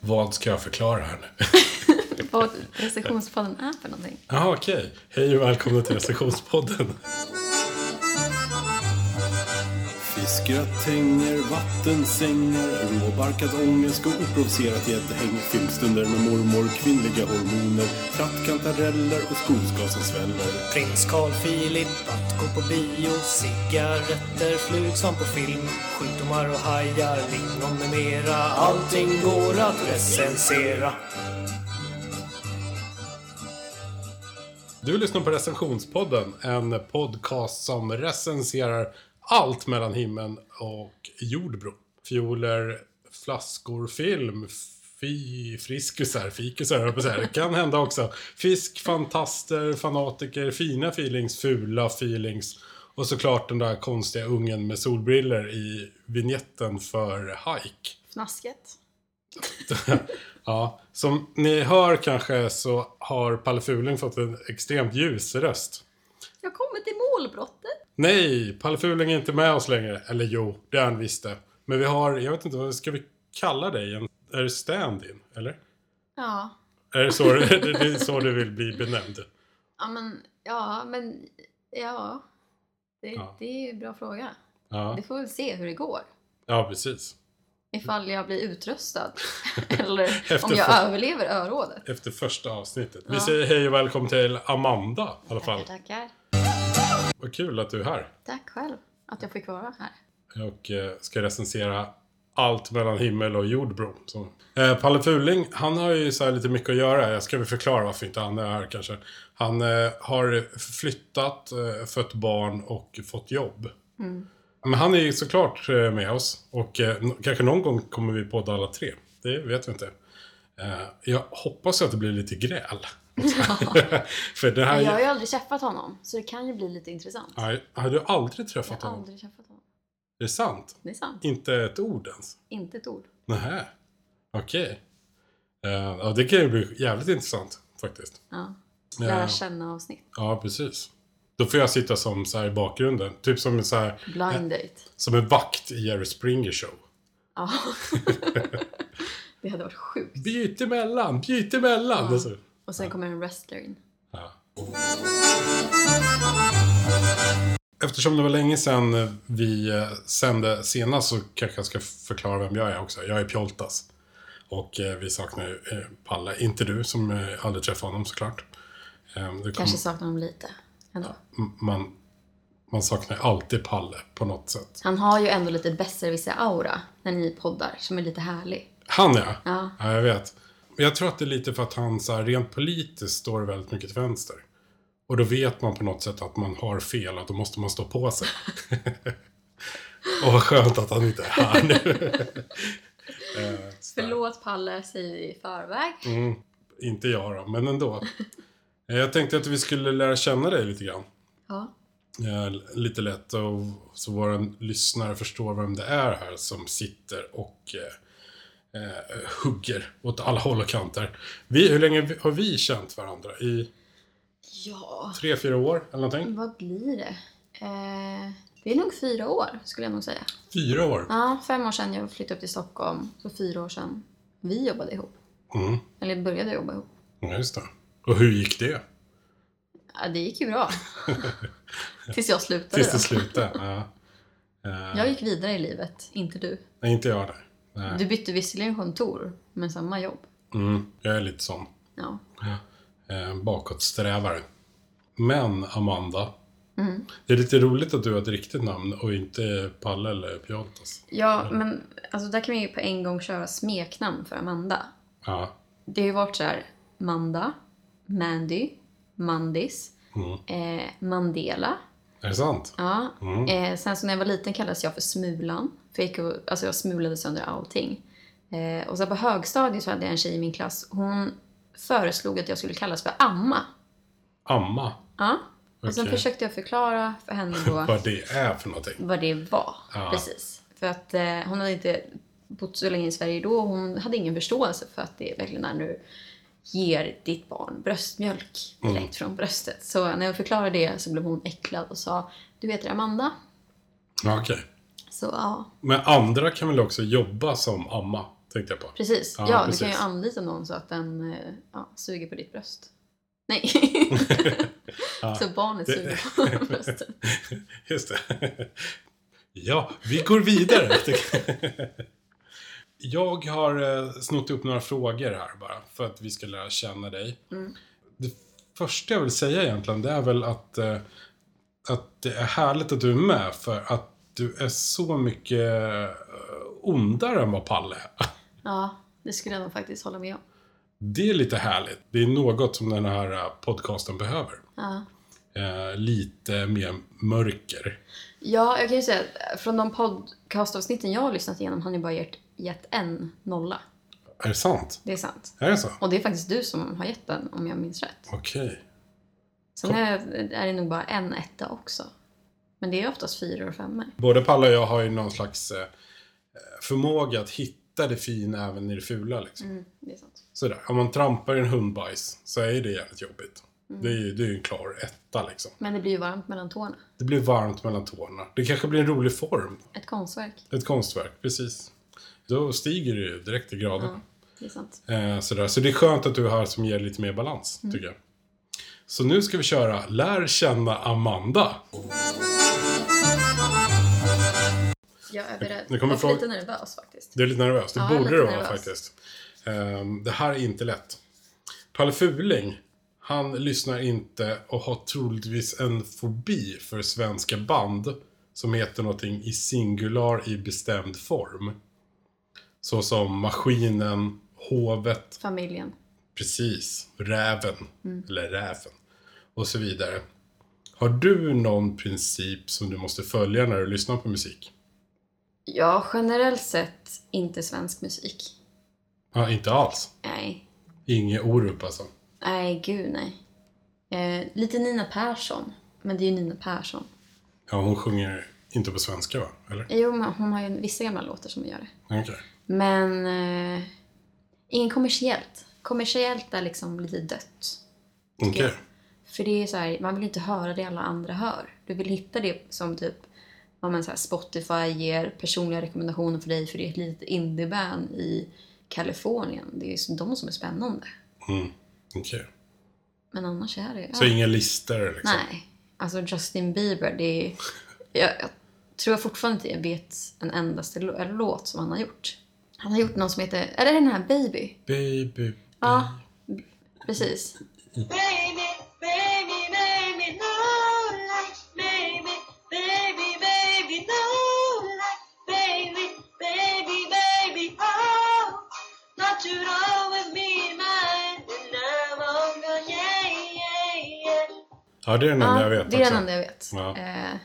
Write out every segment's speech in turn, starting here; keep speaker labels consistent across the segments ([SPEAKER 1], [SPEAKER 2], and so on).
[SPEAKER 1] Vad ska jag förklara här nu?
[SPEAKER 2] vad recensionspodden är för någonting.
[SPEAKER 1] Jaha, okej. Hej och välkomna till recensionspodden.
[SPEAKER 3] Fiskgröt, tänger, vattensängar, råbarkad ångest och oprovocerat gäddhäng. Filmstunder med mormor, kvinnliga hormoner, trattkantareller och skogsgas som sväller.
[SPEAKER 4] Prins Carl Philip, att gå på bio, cigaretter, flug som på film, sjukdomar och hajar, lingon med mera. Allting går att recensera.
[SPEAKER 1] Du lyssnar på recensionspodden, en podcast som recenserar allt mellan himlen och jordbro. Fioler, flaskor, film, fi, friskusar, fikusar, höll jag på att säga. Det kan hända också. Fisk, fantaster, fanatiker, fina feelings, fula feelings. Och såklart den där konstiga ungen med solbriller i vignetten för Hike.
[SPEAKER 2] Fnasket.
[SPEAKER 1] Ja, som ni hör kanske så har Palle Fuling fått en extremt ljus röst.
[SPEAKER 2] Jag kommer till målbrottet.
[SPEAKER 1] Nej, Palle Fuling är inte med oss längre. Eller jo, det är han visst det. Men vi har, jag vet inte, vad ska vi kalla dig? En, är det stand-in, eller?
[SPEAKER 2] Ja.
[SPEAKER 1] Är det, så, är det så du vill bli benämnd?
[SPEAKER 2] Ja, men ja, men ja. Det,
[SPEAKER 1] Ja.
[SPEAKER 2] det är ju en bra fråga.
[SPEAKER 1] Ja, Mm.
[SPEAKER 2] Vi får väl se hur det går.
[SPEAKER 1] ja precis.
[SPEAKER 2] Ifall jag blir utröstad. Eller
[SPEAKER 1] Efter
[SPEAKER 2] om jag
[SPEAKER 1] för-
[SPEAKER 2] överlever örådet.
[SPEAKER 1] Efter första avsnittet. Vi
[SPEAKER 2] Ja.
[SPEAKER 1] säger hej och välkommen till Amanda i alla fall.
[SPEAKER 2] Tackar, tackar.
[SPEAKER 1] Vad kul att du är här.
[SPEAKER 2] Tack själv att jag fick vara här.
[SPEAKER 1] och eh, ska recensera allt mellan himmel och jord bro. Så. Eh, Palle Fuling, han har ju så här lite mycket att göra. Jag ska väl förklara varför inte han är här kanske. Han eh, har flyttat, eh, fött barn och fått jobb.
[SPEAKER 2] Mm.
[SPEAKER 1] Men han är ju såklart eh, med oss och eh, n- kanske någon gång kommer vi podda alla tre. Det vet vi inte. Eh, jag hoppas att det blir lite gräl. För det här...
[SPEAKER 2] Jag har ju aldrig träffat honom, så det kan ju bli lite intressant.
[SPEAKER 1] Har- Har du aldrig
[SPEAKER 2] Jag
[SPEAKER 1] träffat
[SPEAKER 2] har
[SPEAKER 1] honom?
[SPEAKER 2] aldrig träffat honom.
[SPEAKER 1] Det är sant.
[SPEAKER 2] Det är sant.
[SPEAKER 1] Inte ett ord ens.
[SPEAKER 2] Inte ett ord.
[SPEAKER 1] Nähä, okej. Eh, ja, det kan ju bli jävligt intressant faktiskt.
[SPEAKER 2] Ja.
[SPEAKER 1] Eh,
[SPEAKER 2] Lära känna avsnitt.
[SPEAKER 1] ja, precis. Då får jag sitta som så här i bakgrunden. Typ som en, så här,
[SPEAKER 2] Blind date.
[SPEAKER 1] som en vakt i Jerry Springer show.
[SPEAKER 2] Ja. det hade varit sjukt.
[SPEAKER 1] Byt emellan, byt emellan! Alltså, Och så-
[SPEAKER 2] Och sen kommer en wrestler in.
[SPEAKER 1] Ja. Eftersom det var länge sedan vi eh, sände senast så kanske jag ska förklara vem jag är också. Jag är Pjoltas. Och eh, vi saknar ju, eh, Palle. Inte du som eh, aldrig träffade honom såklart. Eh, det kom-
[SPEAKER 2] Kanske saknar honom lite. Ändå.
[SPEAKER 1] m- man, man saknar alltid Palle på något sätt.
[SPEAKER 2] Han har ju ändå lite besserwisser-aura när ni poddar, som är lite härlig.
[SPEAKER 1] Han ja.
[SPEAKER 2] Ja.
[SPEAKER 1] ja jag vet. Men Jag tror att det är lite för att han så här, rent politiskt står väldigt mycket till vänster. Och då vet man på något sätt att man har fel och då måste man stå på sig. och vad skönt att han inte är här nu. Eh, så här.
[SPEAKER 2] Förlåt Palle, säger vi i förväg.
[SPEAKER 1] Mm, inte jag då, men ändå. Eh, Jag tänkte att vi skulle lära känna dig lite grann.
[SPEAKER 2] Ja.
[SPEAKER 1] eh, lite lätt och så våra lyssnare förstår vem det är här som sitter och eh, eh, hugger åt alla håll och kanter. Vi, hur länge har vi känt varandra? I
[SPEAKER 2] Ja,
[SPEAKER 1] tre, fyra år eller någonting?
[SPEAKER 2] vad blir det? Eh, det är nog fyra år, skulle jag nog säga.
[SPEAKER 1] Fyra år?
[SPEAKER 2] Ja, fem år sedan jag flyttade upp till Stockholm. Så fyra år sedan vi jobbade ihop.
[SPEAKER 1] Mm,
[SPEAKER 2] Eller började jobba ihop.
[SPEAKER 1] ja, just det. Och hur gick det?
[SPEAKER 2] Ja, det gick ju bra. Tills jag slutade
[SPEAKER 1] Tills
[SPEAKER 2] då.
[SPEAKER 1] det slutade? Ja. Eh,
[SPEAKER 2] Jag gick vidare i livet, inte du.
[SPEAKER 1] Nej, inte jag där. Nej.
[SPEAKER 2] Du bytte visserligen kontor, men samma jobb.
[SPEAKER 1] Mm, jag är lite sån.
[SPEAKER 2] Ja.
[SPEAKER 1] eh, bakåtsträvare. Men Amanda.
[SPEAKER 2] Mm.
[SPEAKER 1] Det är lite roligt att du har ett riktigt namn och inte Palle eller Pjoltas.
[SPEAKER 2] ja, men alltså där kan vi ju på en gång köra smeknamn för Amanda.
[SPEAKER 1] Ja.
[SPEAKER 2] Det har ju varit så här Manda, Mandy, Mandis,
[SPEAKER 1] Mm.
[SPEAKER 2] eh, Mandela.
[SPEAKER 1] Är det sant?
[SPEAKER 2] Ja.
[SPEAKER 1] Mm.
[SPEAKER 2] Eh, sen så när jag var liten kallades jag för Smulan. För jag, gick och, alltså jag smulade sönder allting. Eh, och sen på högstadiet så hade jag en tjej i min klass. Hon föreslog att jag skulle kallas för Amma.
[SPEAKER 1] Amma.
[SPEAKER 2] Ja. Och sen
[SPEAKER 1] Okej.
[SPEAKER 2] försökte jag förklara för henne då.
[SPEAKER 1] Vad det är för någonting.
[SPEAKER 2] vad det var.
[SPEAKER 1] Ja.
[SPEAKER 2] Precis. För att eh, hon hade inte bott så länge i Sverige då och hon hade ingen förståelse för att det verkligen är nu ger ditt barn bröstmjölk
[SPEAKER 1] Mm.
[SPEAKER 2] direkt från bröstet. Så när jag förklarade det så blev hon äcklad och sa Du heter Amanda.
[SPEAKER 1] Ja, Okej.
[SPEAKER 2] Så ja,
[SPEAKER 1] Men andra kan väl också jobba som amma? tänkte jag på.
[SPEAKER 2] Precis.
[SPEAKER 1] Ja,
[SPEAKER 2] Ja,
[SPEAKER 1] precis.
[SPEAKER 2] du kan ju anlita någon så att den eh, ja, suger på ditt bröst. Nej.
[SPEAKER 1] Ja.
[SPEAKER 2] Så barnet
[SPEAKER 1] Det-
[SPEAKER 2] suger på bröstet.
[SPEAKER 1] Just det. Ja, vi går vidare. Jag har eh, snott upp några frågor här bara, för att vi ska lära känna dig.
[SPEAKER 2] Mm.
[SPEAKER 1] Det första jag vill säga egentligen, det är väl att, eh, att det är härligt att du är med, för att du är så mycket eh, ondare än vad Palle är.
[SPEAKER 2] Ja, det skulle jag nog faktiskt hålla med om.
[SPEAKER 1] Det är lite härligt. Det är något som den här eh, podcasten behöver.
[SPEAKER 2] Ja.
[SPEAKER 1] Eh, Lite mer mörker.
[SPEAKER 2] ja, jag kan ju säga att från de podcastavsnitten jag har lyssnat igenom har ni bara gett, gett en nolla.
[SPEAKER 1] Är det sant?
[SPEAKER 2] Det är sant.
[SPEAKER 1] Är det så?
[SPEAKER 2] Och det är faktiskt du som har gett den, om jag minns rätt.
[SPEAKER 1] Okej.
[SPEAKER 2] Sen är, är det nog bara en etta också. Men det är oftast fyra och femmor.
[SPEAKER 1] Både Palle och jag har ju någon slags eh, förmåga att hitta det fina även i det fula. Liksom.
[SPEAKER 2] Mm, det är sant.
[SPEAKER 1] Sådär. Om man trampar i en hundbajs så är det jävligt jobbigt.
[SPEAKER 2] Mm.
[SPEAKER 1] Det, är ju, det är ju en klar etta liksom.
[SPEAKER 2] Men det blir ju varmt mellan tårna.
[SPEAKER 1] Det blir varmt mellan tårna. Det kanske blir en rolig form.
[SPEAKER 2] Ett konstverk.
[SPEAKER 1] Ett konstverk, precis. Då stiger det ju direkt i graderna.
[SPEAKER 2] Ja, Mm. det är sant.
[SPEAKER 1] Eh, sådär. Så det är skönt att du är här som ger lite mer balans, tycker jag. Så nu ska vi köra Lär känna Amanda.
[SPEAKER 2] Jag är beredd.
[SPEAKER 1] Nu kommer
[SPEAKER 2] jag är
[SPEAKER 1] fråga-
[SPEAKER 2] lite nervös faktiskt.
[SPEAKER 1] Du är lite nervös. Det
[SPEAKER 2] Ja, jag är
[SPEAKER 1] borde
[SPEAKER 2] lite
[SPEAKER 1] du vara
[SPEAKER 2] nervös.
[SPEAKER 1] faktiskt. Ehm, det här är inte lätt. Palle Fuling, han lyssnar inte och har troligtvis en fobi för svenska band som heter någonting i singular i bestämd form. Så som Maskinen, Hovet,
[SPEAKER 2] Familjen.
[SPEAKER 1] precis, Räven,
[SPEAKER 2] Mm.
[SPEAKER 1] eller Räven, och så vidare. Har du någon princip som du måste följa när du lyssnar på musik?
[SPEAKER 2] Ja, generellt sett inte svensk musik.
[SPEAKER 1] Ja, inte alls.
[SPEAKER 2] Nej.
[SPEAKER 1] Inge Orup alltså.
[SPEAKER 2] Nej, gud nej. Eh, lite Nina Persson. Men det är ju Nina Persson.
[SPEAKER 1] Ja, hon sjunger inte på svenska va? Eller?
[SPEAKER 2] Jo, men hon har ju vissa gamla låtar som hon gör det.
[SPEAKER 1] Okej.
[SPEAKER 2] Men eh, ingen kommersiellt. Kommersiellt är liksom lite dött.
[SPEAKER 1] Okej.
[SPEAKER 2] Tycker jag. För det är så här, man vill inte höra det alla andra hör. Du vill hitta det som typ ja, men så här Spotify ger personliga rekommendationer för dig för det är ett litet indieband i Kalifornien. Det är ju som- de som är spännande.
[SPEAKER 1] Mm. Okej.
[SPEAKER 2] Men annars är det... Ja.
[SPEAKER 1] Så inga listor liksom?
[SPEAKER 2] Nej. Alltså Justin Bieber, det är... Jag, jag tror jag fortfarande inte vet en endaste lå- eller låt som han har gjort. Han har gjort någon som heter... Är det den här Baby?
[SPEAKER 1] Baby.
[SPEAKER 2] Ja, precis.
[SPEAKER 5] Baby, baby, baby, no light. Baby, baby, baby, no light. Baby, baby, baby, oh. Not you would always be mine. And I'm all gone, oh, yeah, yeah, yeah.
[SPEAKER 1] Ja, det är den enda
[SPEAKER 2] Ja,
[SPEAKER 1] jag vet
[SPEAKER 2] det är den
[SPEAKER 1] också.
[SPEAKER 2] enda jag vet.
[SPEAKER 1] Ja.
[SPEAKER 2] Eh,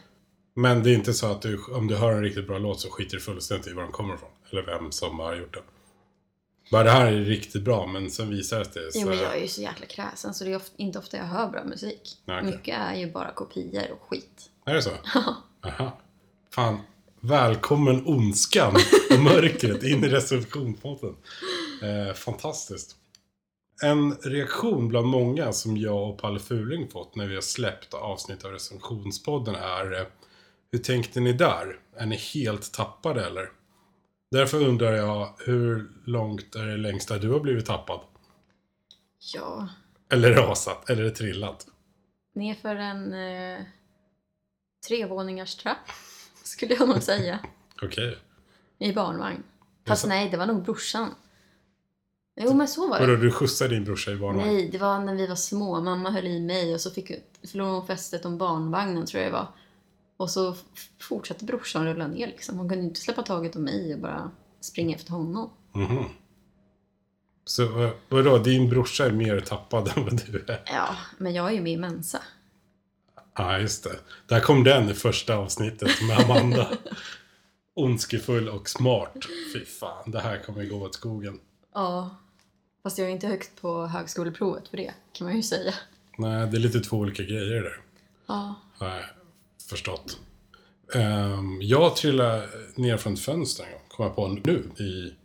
[SPEAKER 1] Men det är inte så att du, om du hör en riktigt bra låt så skiter du fullständigt i var den kommer ifrån. Eller vem som har gjort den. Bara det här är riktigt bra, men sen visar det sig. Så...
[SPEAKER 2] Jo, men jag är ju så jäkla kräsen så det är oft- inte ofta jag hör bra musik.
[SPEAKER 1] Nej, okej.
[SPEAKER 2] Mycket är ju bara kopior och skit.
[SPEAKER 1] Är det så? Aha. Fan. Välkommen ondskan och mörkret in i receptionspodden. Eh, fantastiskt. En reaktion bland många som jag och Palle Fuling fått när vi har släppt avsnitt av recensionspodden är eh, Hur tänkte ni där? Är ni helt tappade eller? Därför undrar jag, hur långt är det längsta du har blivit tappad?
[SPEAKER 2] Ja,
[SPEAKER 1] Eller rasat? Eller trillat?
[SPEAKER 2] nerför en eh, trevåningars trapp skulle jag nog säga.
[SPEAKER 1] Okej.
[SPEAKER 2] I barnvagn. Fast
[SPEAKER 1] Jaså?
[SPEAKER 2] nej, det var nog brorsan. Jo, men så var
[SPEAKER 1] Vadå,
[SPEAKER 2] det.
[SPEAKER 1] du skjutsar din brorsa i barnvagn?
[SPEAKER 2] Nej, det var när vi var små. Mamma höll i mig och så fick, förlorade hon fästet om barnvagnen tror jag det var. Och så f- fortsatte brorsan rulla ner liksom. Hon kunde inte släppa taget om mig och bara springa efter honom.
[SPEAKER 1] Mhm. Så eh, vadå, din brorsa är mer tappad än vad du är?
[SPEAKER 2] Ja, men jag är ju med i Mensa.
[SPEAKER 1] Ja, just det. Där kom den i första avsnittet med Amanda. Ondskefull och smart. Fy fan, det här kommer gå åt skogen.
[SPEAKER 2] Ja. Fast jag är inte högt på högskoleprovet för det, kan man ju säga.
[SPEAKER 1] Nej, det är lite två olika grejer där.
[SPEAKER 2] Ja.
[SPEAKER 1] Har jag förstått. Ehm, jag trillade ner från ett fönster en gång, kom jag på nu, i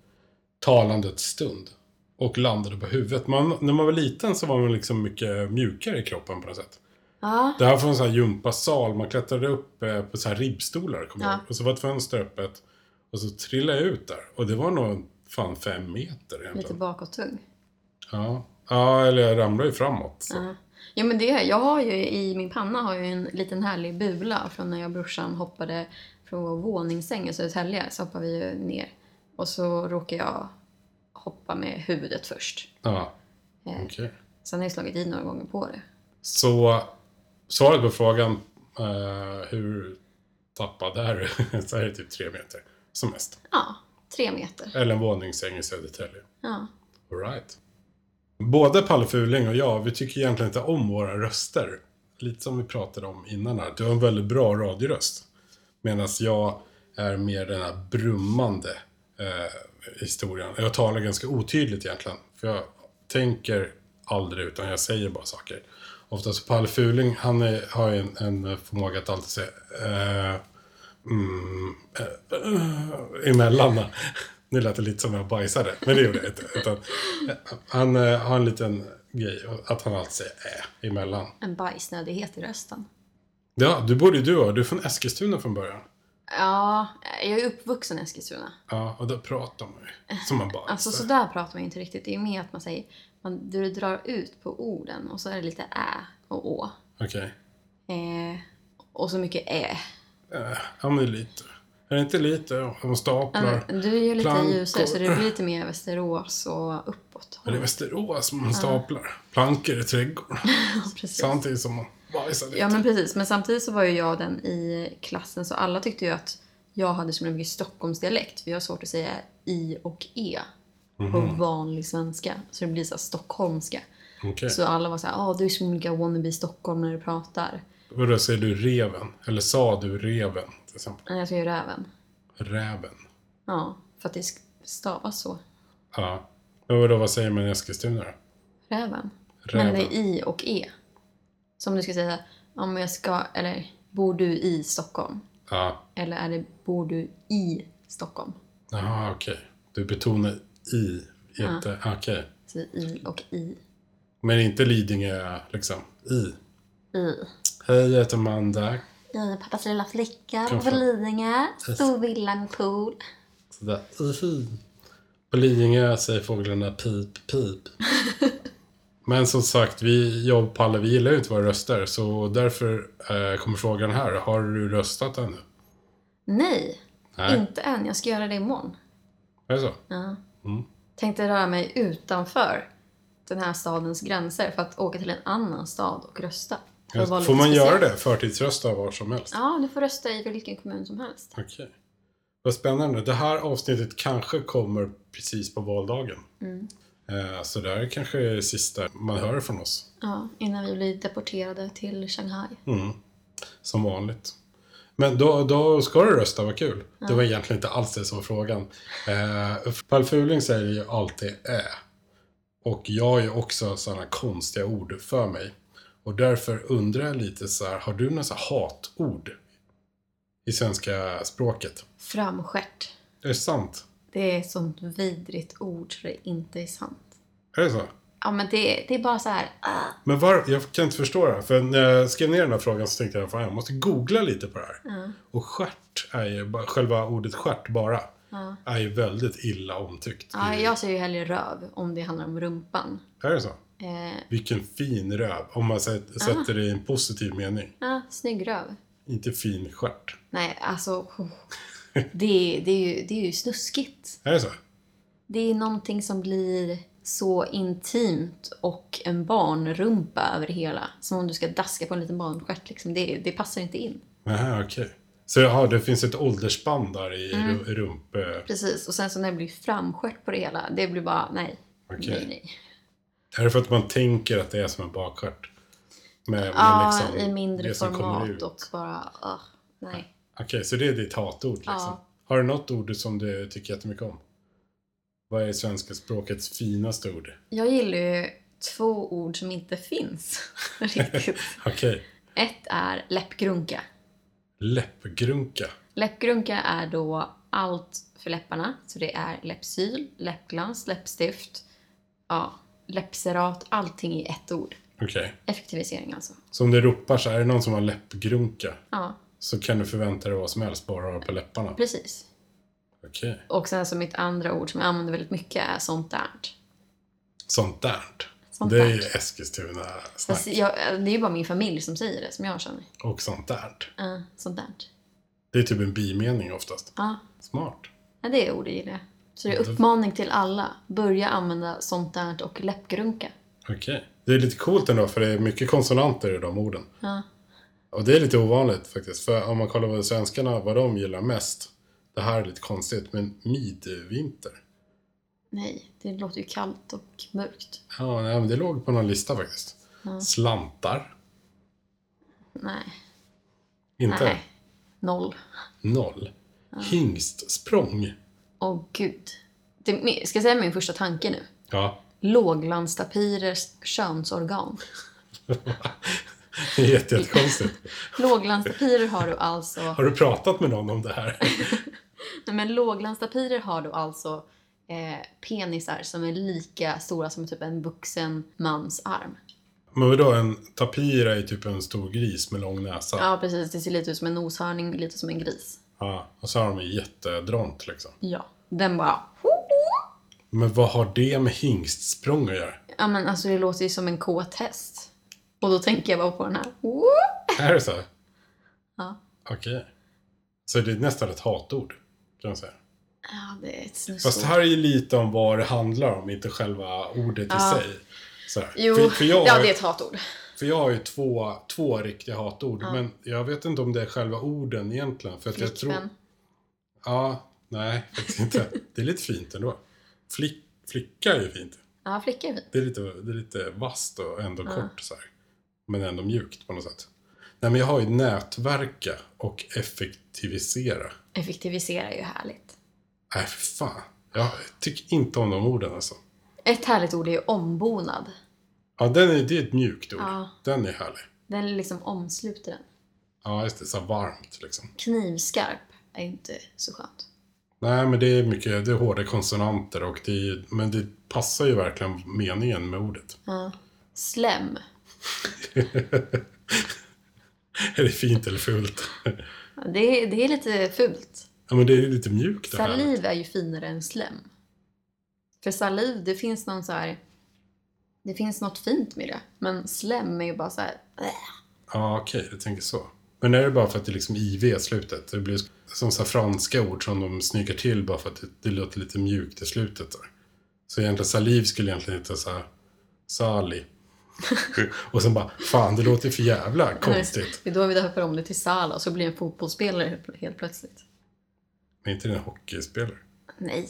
[SPEAKER 1] talandets stund. Och landade på huvudet. Man, när man var liten så var man liksom mycket mjukare i kroppen på något sätt.
[SPEAKER 2] Ja.
[SPEAKER 1] Det här var en sån här gympasal. Man klättrade upp eh, på så här ribbstolar. Kommer jag
[SPEAKER 2] Ja.
[SPEAKER 1] ihåg. Och så var ett fönster öppet. Och så trillade jag ut där. Och det var nog fan fem meter
[SPEAKER 2] Lite
[SPEAKER 1] egentligen.
[SPEAKER 2] bakåttung.
[SPEAKER 1] Ja. ja, eller jag ramlar ju framåt. Så.
[SPEAKER 2] Ja. Jo men det, jag har ju i min panna har jag ju en liten härlig bula från när jag och brorsan hoppade från vår våningssäng i Södertälje så hoppade vi ju ner. Och så råkade jag hoppa med huvudet först.
[SPEAKER 1] Ja,
[SPEAKER 2] Eh,
[SPEAKER 1] okej.
[SPEAKER 2] Sen har jag slagit i några gånger på det.
[SPEAKER 1] Så svaret på frågan eh, hur tappad är du? så är det typ tre meter som mest.
[SPEAKER 2] Ja, tre meter.
[SPEAKER 1] Eller en våningssäng i Södertälje.
[SPEAKER 2] Ja.
[SPEAKER 1] All right. Både Palle Fuling och jag, vi tycker egentligen inte om våra röster. Lite som vi pratade om innan här. Du har en väldigt bra radioröst. Medan jag är mer den här brummande eh, historien. Jag talar ganska otydligt egentligen. För jag tänker aldrig utan jag säger bara saker. Oftast Palle Fuling, han är, har ju en, en förmåga att alltid säga eh, mm, eh, eh, emellan. Nu lät det lite som jag bajsade, men det gjorde jag inte. Utan, eh, han eh, har en liten grej, att han alltid säger äh emellan.
[SPEAKER 2] En bajsnödighet i rösten.
[SPEAKER 1] Ja, du borde ju du ha. Du är från Eskilstuna från början.
[SPEAKER 2] Ja, jag är uppvuxen i Eskilstuna.
[SPEAKER 1] Ja, och då pratar man ju som man bajsar.
[SPEAKER 2] Alltså sådär pratar man ju inte riktigt. Det är ju mer att man säger, man du drar ut på orden och så är det lite ä och å.
[SPEAKER 1] Okej.
[SPEAKER 2] Eh, och så mycket ä.
[SPEAKER 1] Eh, ja, men lite. Är det inte lite? De staplar.
[SPEAKER 2] Men Du är ju lite
[SPEAKER 1] Plankor.
[SPEAKER 2] ljusare så det blir lite mer Västerås och uppåt.
[SPEAKER 1] Men det är Västerås som man staplar. Plankor i trädgården.
[SPEAKER 2] Precis.
[SPEAKER 1] Samtidigt som man bajsar lite.
[SPEAKER 2] Ja men precis, men samtidigt så var ju jag den i klassen så alla tyckte ju att jag hade så mycket Stockholmsdialekt för jag har svårt att säga i och e
[SPEAKER 1] Mhm.
[SPEAKER 2] på vanlig svenska. Så det blir så här stockholmska.
[SPEAKER 1] Okej.
[SPEAKER 2] Så alla var så här, ah du är så olika wannabe Stockholm när du pratar.
[SPEAKER 1] Vadå, säger du reven? Eller sa du reven? Till exempel.
[SPEAKER 2] Nej, Jag säger räven.
[SPEAKER 1] Räven.
[SPEAKER 2] Ja, för att det sk- stavas så.
[SPEAKER 1] Ja. Men vadå, vad säger man i Eskilstuna då?
[SPEAKER 2] Räven.
[SPEAKER 1] Räven.
[SPEAKER 2] Men det är i och e. Som du ska säga, om jag ska, eller bor du i Stockholm?
[SPEAKER 1] Ja.
[SPEAKER 2] Eller är det bor du i Stockholm?
[SPEAKER 1] Jaha, okej. Du betonar i. Inte, okej.
[SPEAKER 2] Så i och i.
[SPEAKER 1] Men inte Lidingö, liksom. I.
[SPEAKER 2] I.
[SPEAKER 1] Hej, jag heter Amanda.
[SPEAKER 2] I pappas lilla flicka,
[SPEAKER 1] Kanske.
[SPEAKER 2] på Lidingö, stor villa med pool.
[SPEAKER 1] Sådär. Ihi. På Lidingö säger fåglarna pip, pip. Men som sagt, vi, jag och Palle, vi gillar ju inte våra röster. Så därför eh, kommer frågan här. Har du röstat ännu?
[SPEAKER 2] Nej,
[SPEAKER 1] Nej.
[SPEAKER 2] inte än. Jag ska göra det imorgon.
[SPEAKER 1] Är det så?
[SPEAKER 2] Ja.
[SPEAKER 1] Mm.
[SPEAKER 2] Tänkte röra mig utanför den här stadens gränser för att åka till en annan stad och rösta. För att vara
[SPEAKER 1] Får
[SPEAKER 2] lite
[SPEAKER 1] man göra
[SPEAKER 2] speciell.
[SPEAKER 1] det? Förtidsrösta var som helst?
[SPEAKER 2] Ja, du får rösta i vilken kommun som helst.
[SPEAKER 1] Okej. Vad spännande. Det här avsnittet kanske kommer precis på valdagen. Eh, Så det här är kanske det sista man hör från oss,
[SPEAKER 2] Ja, innan vi blir deporterade till Shanghai.
[SPEAKER 1] som vanligt. Men då, då ska du rösta, vad kul. Det var egentligen inte alls det som var frågan. Eh, Paul Fuling säger ju alltid ä. Och jag har ju också sådana konstiga ord för mig. Och därför undrar jag lite så här, har du några så här hatord i svenska språket?
[SPEAKER 2] Framskärt.
[SPEAKER 1] Är det sant?
[SPEAKER 2] Det är ett sånt vidrigt ord så det inte är sant.
[SPEAKER 1] Är det så?
[SPEAKER 2] Ja, men det, det är bara så här. ah.
[SPEAKER 1] Men var, jag kan inte förstå det här. För när jag skrev ner den här frågan så tänkte jag fan jag måste googla lite på det här. Och stjärt är ju, bara- själva ordet stjärt bara, är ju väldigt illa omtyckt.
[SPEAKER 2] Ja, jag säger ju hellre röv om det handlar om rumpan.
[SPEAKER 1] Är det så?
[SPEAKER 2] Eh,
[SPEAKER 1] Vilken fin röv. Om man sä- sätter det i en positiv mening.
[SPEAKER 2] ja, snygg röv.
[SPEAKER 1] Inte fin stjärt.
[SPEAKER 2] Nej, alltså. oh. Det, är- det, är ju, det är ju snuskigt.
[SPEAKER 1] Är det så?
[SPEAKER 2] Det är någonting som blir så intimt och en barnrumpa över det hela. Som om du ska daska på en liten barnstjärt liksom. Det, det passar inte in.
[SPEAKER 1] Nähä, okej. Så jaha, det finns ett åldersspann där i mm. rump... eh,
[SPEAKER 2] Precis, och sen så när det blir framskärt på det hela, det blir bara nej.
[SPEAKER 1] Okej.
[SPEAKER 2] Nej, nej.
[SPEAKER 1] Är det för att man tänker att det är som en bakstjärt? Med, med
[SPEAKER 2] Ja,
[SPEAKER 1] liksom
[SPEAKER 2] i mindre
[SPEAKER 1] det som kommer
[SPEAKER 2] format
[SPEAKER 1] ut.
[SPEAKER 2] och bara, ah, nej.
[SPEAKER 1] Okej, så det är ditt hatord liksom.
[SPEAKER 2] Ja.
[SPEAKER 1] Har du något ord som du tycker jättemycket om? Vad är svenska språkets finaste ord?
[SPEAKER 2] Jag gillar ju två ord som inte finns riktigt.
[SPEAKER 1] Okej,
[SPEAKER 2] Ett är läppgrunka.
[SPEAKER 1] läppgrunka.
[SPEAKER 2] Läppgrunka är då allt för läpparna. Så det är läppsyl, läppglans, läppstift, ja, läppserat, allting i ett ord.
[SPEAKER 1] Okej.
[SPEAKER 2] Effektivisering alltså.
[SPEAKER 1] Så om du ropar så här, är det någon som har läppgrunka?
[SPEAKER 2] Ja,
[SPEAKER 1] Så kan du förvänta dig vad som helst, bara ha det på läpparna.
[SPEAKER 2] precis.
[SPEAKER 1] Okej.
[SPEAKER 2] Och sen så mitt andra ord som jag använder väldigt mycket är sånt där.
[SPEAKER 1] Sånt där.
[SPEAKER 2] Sånt
[SPEAKER 1] det är
[SPEAKER 2] där.
[SPEAKER 1] ju Eskilstuna-snack.
[SPEAKER 2] Fast jag, eh, det är ju bara min familj som säger det, som jag känner.
[SPEAKER 1] Och sånt där.
[SPEAKER 2] Uh, sånt där.
[SPEAKER 1] Det är typ en bimening oftast.
[SPEAKER 2] Ja,
[SPEAKER 1] Smart.
[SPEAKER 2] Ja, det är ordet gillar jag. Så det är uppmaning till alla. Börja använda sånt där och läppgrunka.
[SPEAKER 1] Okej. Det är lite coolt ändå för det är mycket konsonanter i de orden.
[SPEAKER 2] Ja.
[SPEAKER 1] Och det är lite ovanligt faktiskt. För om man kollar vad svenskarna, vad de gillar mest. Det här är lite konstigt, men midvinter.
[SPEAKER 2] Nej, det låter ju kallt och mörkt.
[SPEAKER 1] Ja, nej, men det låg på någon lista faktiskt. Slantar.
[SPEAKER 2] Nej.
[SPEAKER 1] Inte?
[SPEAKER 2] Nej. Noll.
[SPEAKER 1] Noll. Hingstsprång.
[SPEAKER 2] Åh gud. Det, är min- ska jag säga min första tanke nu?
[SPEAKER 1] Ja.
[SPEAKER 2] Låglandstapirers könsorgan.
[SPEAKER 1] Det är jätte- jättekonstigt.
[SPEAKER 2] Låglandstapirer har du alltså...
[SPEAKER 1] Har du pratat med någon om det här?
[SPEAKER 2] Nej, men låglandstapirer har då alltså eh, penisar som är lika stora som typ en vuxen mans arm.
[SPEAKER 1] Men vadå, en tapir är ju typ en stor gris med lång näsa.
[SPEAKER 2] Ja, precis. Det ser lite ut som en noshörning, lite som en gris.
[SPEAKER 1] Ja, och så har de ju jättedront liksom.
[SPEAKER 2] Ja. Den bara...
[SPEAKER 1] Men vad har det med hingstsprång att göra?
[SPEAKER 2] Ja, men alltså det låter ju som en kåt häst. Och då tänker jag bara på den här.
[SPEAKER 1] Är det så?
[SPEAKER 2] Ja.
[SPEAKER 1] Okej. Så det är nästan ett hatord, kan man säga.
[SPEAKER 2] Ja, det är ett
[SPEAKER 1] Fast det
[SPEAKER 2] snusord.
[SPEAKER 1] här är ju lite om vad det handlar om, inte själva ordet i
[SPEAKER 2] Ja.
[SPEAKER 1] sig. Så här.
[SPEAKER 2] Jo,
[SPEAKER 1] För, för, jag,
[SPEAKER 2] ja
[SPEAKER 1] har-
[SPEAKER 2] det är ett hatord.
[SPEAKER 1] för jag har ju två, två riktiga hatord, men jag vet inte om det är själva orden egentligen. För att jag tror...
[SPEAKER 2] Flickvän.
[SPEAKER 1] Ja, nej, faktiskt inte. Det är lite fint ändå. Flick, flicka är ju fint.
[SPEAKER 2] Ja, flicka är fint.
[SPEAKER 1] Det är lite, det är lite vasst och ändå kort så här. Men ändå mjukt på något sätt. Nej men jag har ju nätverka och effektivisera.
[SPEAKER 2] Effektivisera är ju härligt.
[SPEAKER 1] Nej Äh, för fan. Jag tycker inte om de orden alltså.
[SPEAKER 2] Ett härligt ord är ju ombonad.
[SPEAKER 1] Ja den är, det är ett mjukt ord.
[SPEAKER 2] Ja.
[SPEAKER 1] Den är härlig.
[SPEAKER 2] Den liksom omsluter den.
[SPEAKER 1] Ja just det, så här varmt liksom.
[SPEAKER 2] Knivskarp är ju inte så skönt.
[SPEAKER 1] Nej men det är mycket, det är hårda konsonanter och det är, men det passar ju verkligen meningen med ordet.
[SPEAKER 2] Ja. Slem.
[SPEAKER 1] Är det fint eller fult?
[SPEAKER 2] Ja, Det är, det är lite fult.
[SPEAKER 1] Ja men det är ju lite mjukt och härligt.
[SPEAKER 2] Saliv är ju finare än slem. För saliv, det finns någon så här... Det finns något fint med det. Men slem är ju bara så här... äh.
[SPEAKER 1] Ja, okej, du tänker så. Men är det bara för att det är liksom IV i slutet? Det blir som så här franska ord som de snyggar till bara för att det, det låter lite mjukt i slutet. Där. Så egentligen saliv skulle egentligen heta så här Sali. och sen bara, fan det låter för jävla konstigt.
[SPEAKER 2] Det är då vi döper om det till Sala och så blir det en fotbollsspelare helt- helt plötsligt.
[SPEAKER 1] Men inte den hockeyspelare.
[SPEAKER 2] Nej.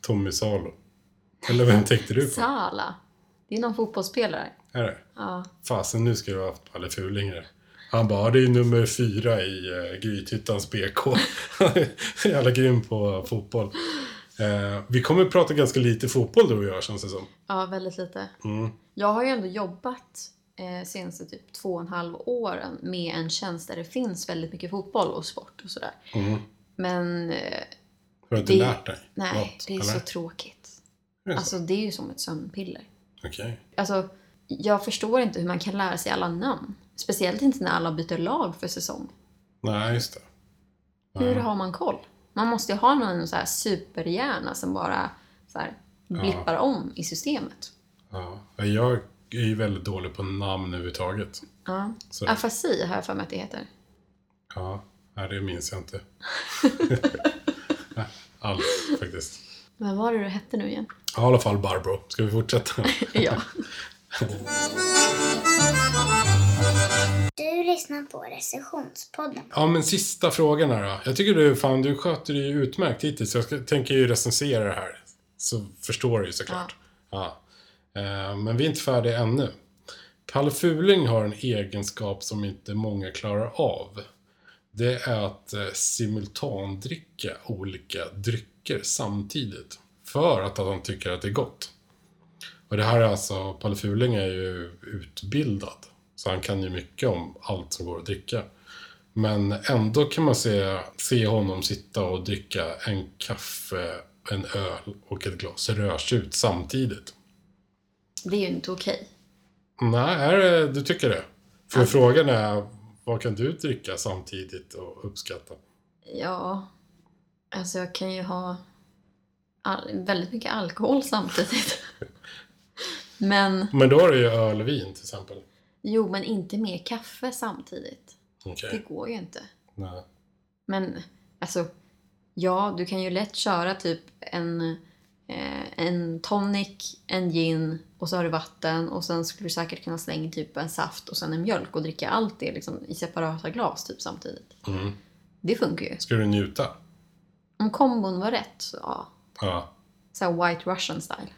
[SPEAKER 1] Tommy Salo. Eller vem tänkte du på?
[SPEAKER 2] Sala. Det är någon fotbollsspelare.
[SPEAKER 1] Är det?
[SPEAKER 2] Ja.
[SPEAKER 1] Fasen, nu ska du ha haft Palle Fuling här. Han bara, "Ja, det är ju nummer fyra i eh, Grythyttans BK. Jävla grym på fotboll. Eh, vi kommer prata ganska lite fotboll du och jag känns det som.
[SPEAKER 2] Ja, väldigt lite.
[SPEAKER 1] Mm.
[SPEAKER 2] Jag har ju ändå jobbat eh, senaste typ två och en halv åren med en tjänst där det finns väldigt mycket fotboll och sport och sådär.
[SPEAKER 1] Mm.
[SPEAKER 2] Men eh,
[SPEAKER 1] Har du inte
[SPEAKER 2] Det-
[SPEAKER 1] lärt dig
[SPEAKER 2] nej,
[SPEAKER 1] något?
[SPEAKER 2] det är så
[SPEAKER 1] eller?
[SPEAKER 2] tråkigt.
[SPEAKER 1] Är det så?
[SPEAKER 2] Alltså det är ju som ett sömnpiller.
[SPEAKER 1] Okej.
[SPEAKER 2] Alltså, jag förstår inte hur man kan lära sig alla namn. Speciellt inte när alla byter lag för säsong.
[SPEAKER 1] Nej, just det.
[SPEAKER 2] Hur
[SPEAKER 1] Ja.
[SPEAKER 2] har man koll? Man måste ju ha någon så här superhjärna som bara så här blippar om i systemet.
[SPEAKER 1] Ja. Jag är ju väldigt dålig på namn överhuvudtaget.
[SPEAKER 2] Ja.
[SPEAKER 1] Så,
[SPEAKER 2] Afasi har jag för mig att det heter.
[SPEAKER 1] ja, nej, det minns jag inte. Alls, faktiskt.
[SPEAKER 2] Vad var det du hette nu igen?
[SPEAKER 1] Ja, I alla fall Barbro. Ska vi fortsätta?
[SPEAKER 2] Ja.
[SPEAKER 6] Du lyssnar på recensionspodden.
[SPEAKER 1] Ja, men sista frågan här då. Jag tycker du, fan, du sköter dig ju utmärkt hittills. Jag ska, tänker ju recensera det här. Så förstår du ju såklart. Ja. Eh, men vi är inte färdiga ännu. Palle Fuling har en egenskap som inte många klarar av. Det är att eh, simultandricka olika drycker samtidigt. För att han tycker att det är gott. Och det här är alltså, Palle Fuling är ju utbildad. Så han kan ju mycket om allt som går att dricka. Men ändå kan man se, se honom sitta och dricka en kaffe, en öl och ett glas rödtjut samtidigt.
[SPEAKER 2] Det är ju inte okej.
[SPEAKER 1] Nej, är det, du tycker det? För frågan är, vad kan du dricka samtidigt och uppskatta?
[SPEAKER 2] Ja. Alltså jag kan ju ha all, väldigt mycket alkohol samtidigt. men,
[SPEAKER 1] Men då har du ju öl och vin till exempel.
[SPEAKER 2] jo men inte mer kaffe samtidigt.
[SPEAKER 1] Okej.
[SPEAKER 2] Det går ju inte.
[SPEAKER 1] Nej.
[SPEAKER 2] Men alltså, ja, du kan ju lätt köra typ en, eh, en tonic, en gin och så har du vatten och sen skulle du säkert kunna slänga in typ en saft och sen en mjölk och dricka allt det liksom i separata glas typ samtidigt.
[SPEAKER 1] Mm.
[SPEAKER 2] Det funkar ju.
[SPEAKER 1] Ska du njuta?
[SPEAKER 2] Om kombon var rätt, så ja.
[SPEAKER 1] Ja.
[SPEAKER 2] Så här white russian style.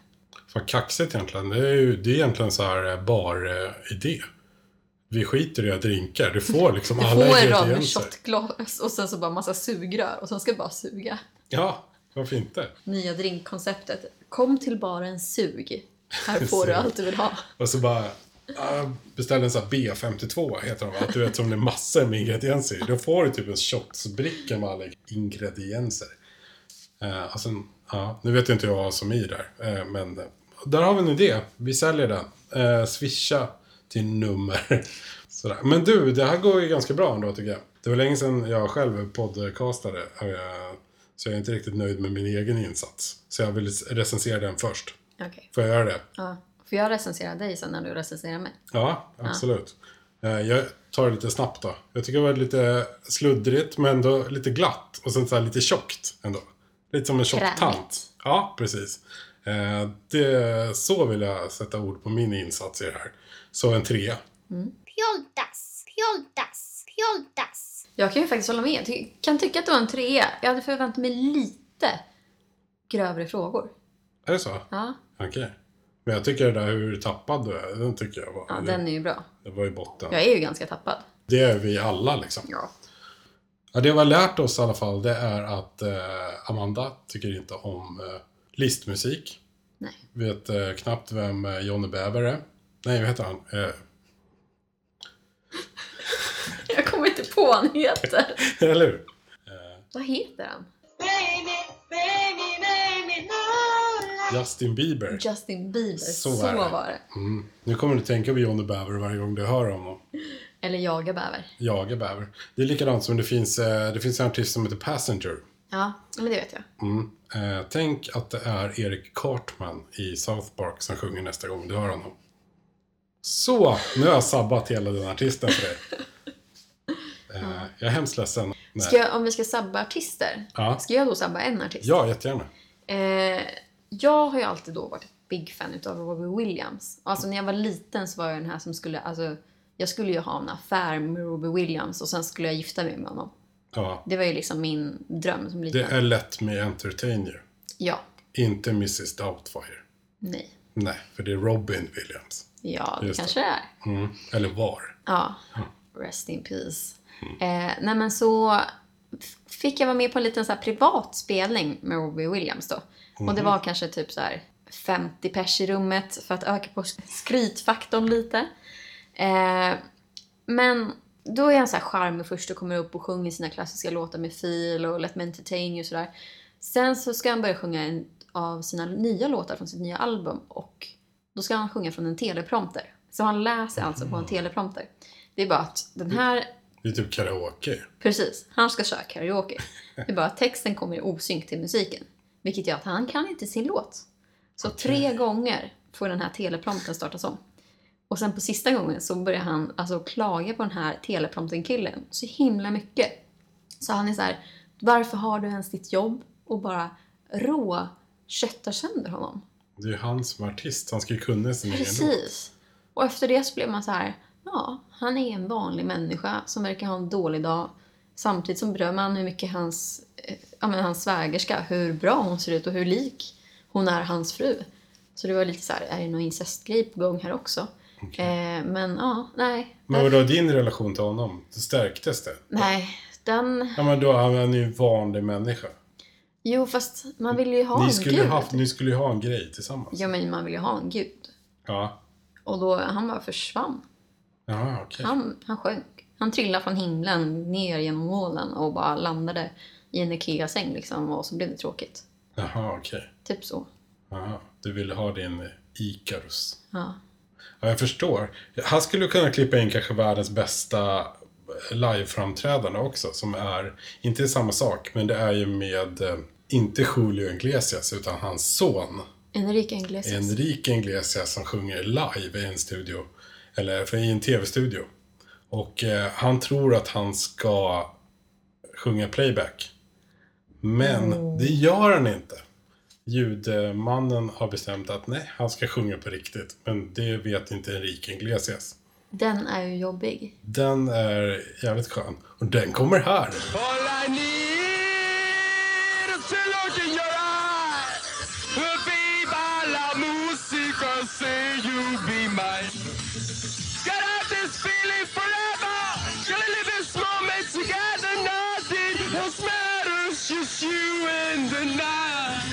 [SPEAKER 1] Vad kaxigt egentligen. Det är ju det är egentligen så här bar-idé. Vi skiter i att drinka. Du får liksom
[SPEAKER 2] Du
[SPEAKER 1] alla
[SPEAKER 2] får en rad med
[SPEAKER 1] ingredienser.
[SPEAKER 2] shotglas och sen så bara massa sugrör och sen ska du bara suga.
[SPEAKER 1] Ja, varför inte?
[SPEAKER 2] Nya drinkkonceptet. Kom till baren sug. Här får du
[SPEAKER 1] Sug.
[SPEAKER 2] allt du vill ha.
[SPEAKER 1] Och så bara ah, beställ en sån här B52 heter de va? Att du vet som det är massor med ingredienser i. Då får du typ en shotsbricka med alla ingredienser. Eh, och sen, ja, nu vet jag inte jag vad som är i där. Eh, men eh, där har vi en idé. Vi säljer den. Eh, swisha till nummer. Sådär. Men du, det här går ju ganska bra ändå tycker jag. Det var länge sedan jag själv podcastade. Eh, så jag är inte riktigt nöjd med min egen insats. Så jag vill recensera den först.
[SPEAKER 2] Okej.
[SPEAKER 1] Får jag göra det?
[SPEAKER 2] Ja. Får jag recensera dig sen när du recenserar mig?
[SPEAKER 1] Ja, absolut. Eh, Jag tar det lite snabbt då. Jag tycker det var lite sluddrigt men ändå lite glatt och sen så här lite tjockt ändå. Lite som en tjock
[SPEAKER 2] Krämigt.
[SPEAKER 1] tant. Ja, precis. Eh, Det, så vill jag sätta ord på min insats i det här. Så en trea.
[SPEAKER 6] Pjoltas, pjoltas, pjoltas.
[SPEAKER 2] Jag kan ju faktiskt hålla med. Jag ty- kan tycka att det var en trea. Jag hade förväntat mig lite grövre frågor.
[SPEAKER 1] Är det så?
[SPEAKER 2] Ja,
[SPEAKER 1] Okej. Men jag tycker det där hur tappad du är, den tycker jag var...
[SPEAKER 2] ja den är ju bra.
[SPEAKER 1] Det var i botten.
[SPEAKER 2] Jag är ju ganska tappad.
[SPEAKER 1] Det är vi alla liksom.
[SPEAKER 2] Ja.
[SPEAKER 1] Ja, det vi har lärt oss i alla fall det är att eh, Amanda tycker inte om eh, listmusik.
[SPEAKER 2] Nej.
[SPEAKER 1] Vet eh, knappt vem eh, Johnny Bäver är. Nej, vad heter han? Eh,
[SPEAKER 2] Jag kommer inte på vad han heter.
[SPEAKER 1] eller hur?
[SPEAKER 2] vad heter han?
[SPEAKER 5] baby, baby, baby, no light.
[SPEAKER 1] Justin Bieber.
[SPEAKER 2] Justin Bieber.
[SPEAKER 1] Så
[SPEAKER 2] Så,
[SPEAKER 1] är det.
[SPEAKER 2] var det.
[SPEAKER 1] Mm. Nu kommer du tänka på Johnny Bäver varje gång du hör honom.
[SPEAKER 2] Eller jaga bäver.
[SPEAKER 1] Jaga Bäver. Det är likadant som det finns, eh, det finns en artist som heter Passenger.
[SPEAKER 2] Ja, men det vet jag.
[SPEAKER 1] Mm. Eh, tänk att det är Eric Cartman i South Park som sjunger nästa gång du hör honom. Så, nu har jag sabbat hela den artisten för dig. Eh, jag är hemskt ledsen. Nej.
[SPEAKER 2] Ska jag, om vi ska sabba artister,
[SPEAKER 1] Ja.
[SPEAKER 2] ska jag då sabba en artist?
[SPEAKER 1] Ja, jättegärna.
[SPEAKER 2] Eh, jag har ju alltid då varit ett big fan utav Robbie Williams. Alltså när jag var liten så var jag den här som skulle, alltså jag skulle ju ha en affär med Robbie Williams och sen skulle jag gifta mig med honom.
[SPEAKER 1] Ja.
[SPEAKER 2] Det var ju liksom min dröm som
[SPEAKER 1] Det
[SPEAKER 2] liten.
[SPEAKER 1] är lätt med Entertainer,
[SPEAKER 2] Ja.
[SPEAKER 1] inte Mrs Doubtfire.
[SPEAKER 2] Nej.
[SPEAKER 1] Nej, för det är Robin Williams.
[SPEAKER 2] Ja, det
[SPEAKER 1] Just det.
[SPEAKER 2] kanske det är.
[SPEAKER 1] Mm. Eller var.
[SPEAKER 2] Ja. Rest in peace. Eh, nej men så f- fick jag vara med på en liten så här privat spelning med Robbie Williams då. Och det var kanske typ så här 50 pers i rummet för att öka på sk- skrytfaktorn lite. Eh, men då är han så här charmig först och kommer upp och sjunger sina klassiska låtar med fil och Let Me Entertain You och sådär. Sen så ska han börja sjunga en av sina nya låtar från sitt nya album och då ska han sjunga från en teleprompter. Så han läser alltså på en teleprompter. Det är bara att den här,
[SPEAKER 1] Det är typ karaoke.
[SPEAKER 2] precis, han ska köra karaoke. Det är bara att texten kommer i osynk till musiken. Vilket gör att han kan inte sin låt. Så tre gånger får den här teleprompten startas om. Och sen på sista gången så börjar han alltså klaga på den här teleprompten-killen så himla mycket. Så han är så här, varför har du ens ditt jobb? Och bara rå köttar sönder honom.
[SPEAKER 1] Det är ju han som är artist, han ska ju kunna sin egen låt.
[SPEAKER 2] Precis. Och efter det så blev man så här, ja, han är en vanlig människa som verkar ha en dålig dag. Samtidigt som berömmer han hur mycket hans, eh, ja, men hans svägerska, hur bra hon ser ut och hur lik hon är hans fru. Så det var lite så här, är det någon incestgrej på gång här också? Eh, men ja, nej.
[SPEAKER 1] Men vadå, din relation till honom, det stärktes det?
[SPEAKER 2] Nej, den...
[SPEAKER 1] Ja, men då han är ju en vanlig människa.
[SPEAKER 2] Jo, fast man vill ju ha
[SPEAKER 1] Ni
[SPEAKER 2] en
[SPEAKER 1] skulle,
[SPEAKER 2] gud.
[SPEAKER 1] ju haft, ni skulle ju ha en grej tillsammans.
[SPEAKER 2] Ja, men man vill ju ha en gud.
[SPEAKER 1] Ja.
[SPEAKER 2] Och då, han bara försvann.
[SPEAKER 1] Ja, okej.
[SPEAKER 2] Han, han sjönk. Han trillade från himlen ner genom molnen och bara landade i en IKEA-säng liksom och så blev det tråkigt.
[SPEAKER 1] Jaha, okej.
[SPEAKER 2] Typ så.
[SPEAKER 1] Jaha. Du ville ha din Icarus.
[SPEAKER 2] Ja.
[SPEAKER 1] Ja, jag förstår. Han skulle kunna klippa in kanske världens bästa liveframträdande också som är, inte samma sak, men det är ju med, eh, inte Julio Iglesias utan hans son
[SPEAKER 2] Enrique Iglesias.
[SPEAKER 1] Enrique Iglesias som sjunger live i en studio, eller för- i en tv-studio. Och eh, han tror att han ska sjunga playback. Men det gör han inte. Ljudmannen har bestämt att nej, han ska sjunga på riktigt. Men det vet inte Enrique Iglesias.
[SPEAKER 2] Den är ju jobbig.
[SPEAKER 1] Den är jävligt skön. Och den kommer här.
[SPEAKER 7] All I need is to look in your eyes. Viva la música, say you be mine. Get out this feeling forever. Gonna live this moment together. Nothing else matters, just you and the night.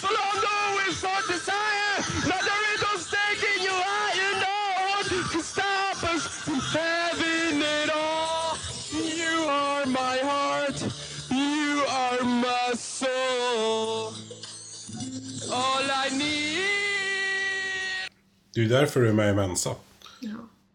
[SPEAKER 7] So long though it's our desire, not the rhythm's taking you higher. No one can stop us from having it all. You are my heart, you are my soul. All I need.
[SPEAKER 1] Det är ju därför du är med i Mensa.
[SPEAKER 2] Ja.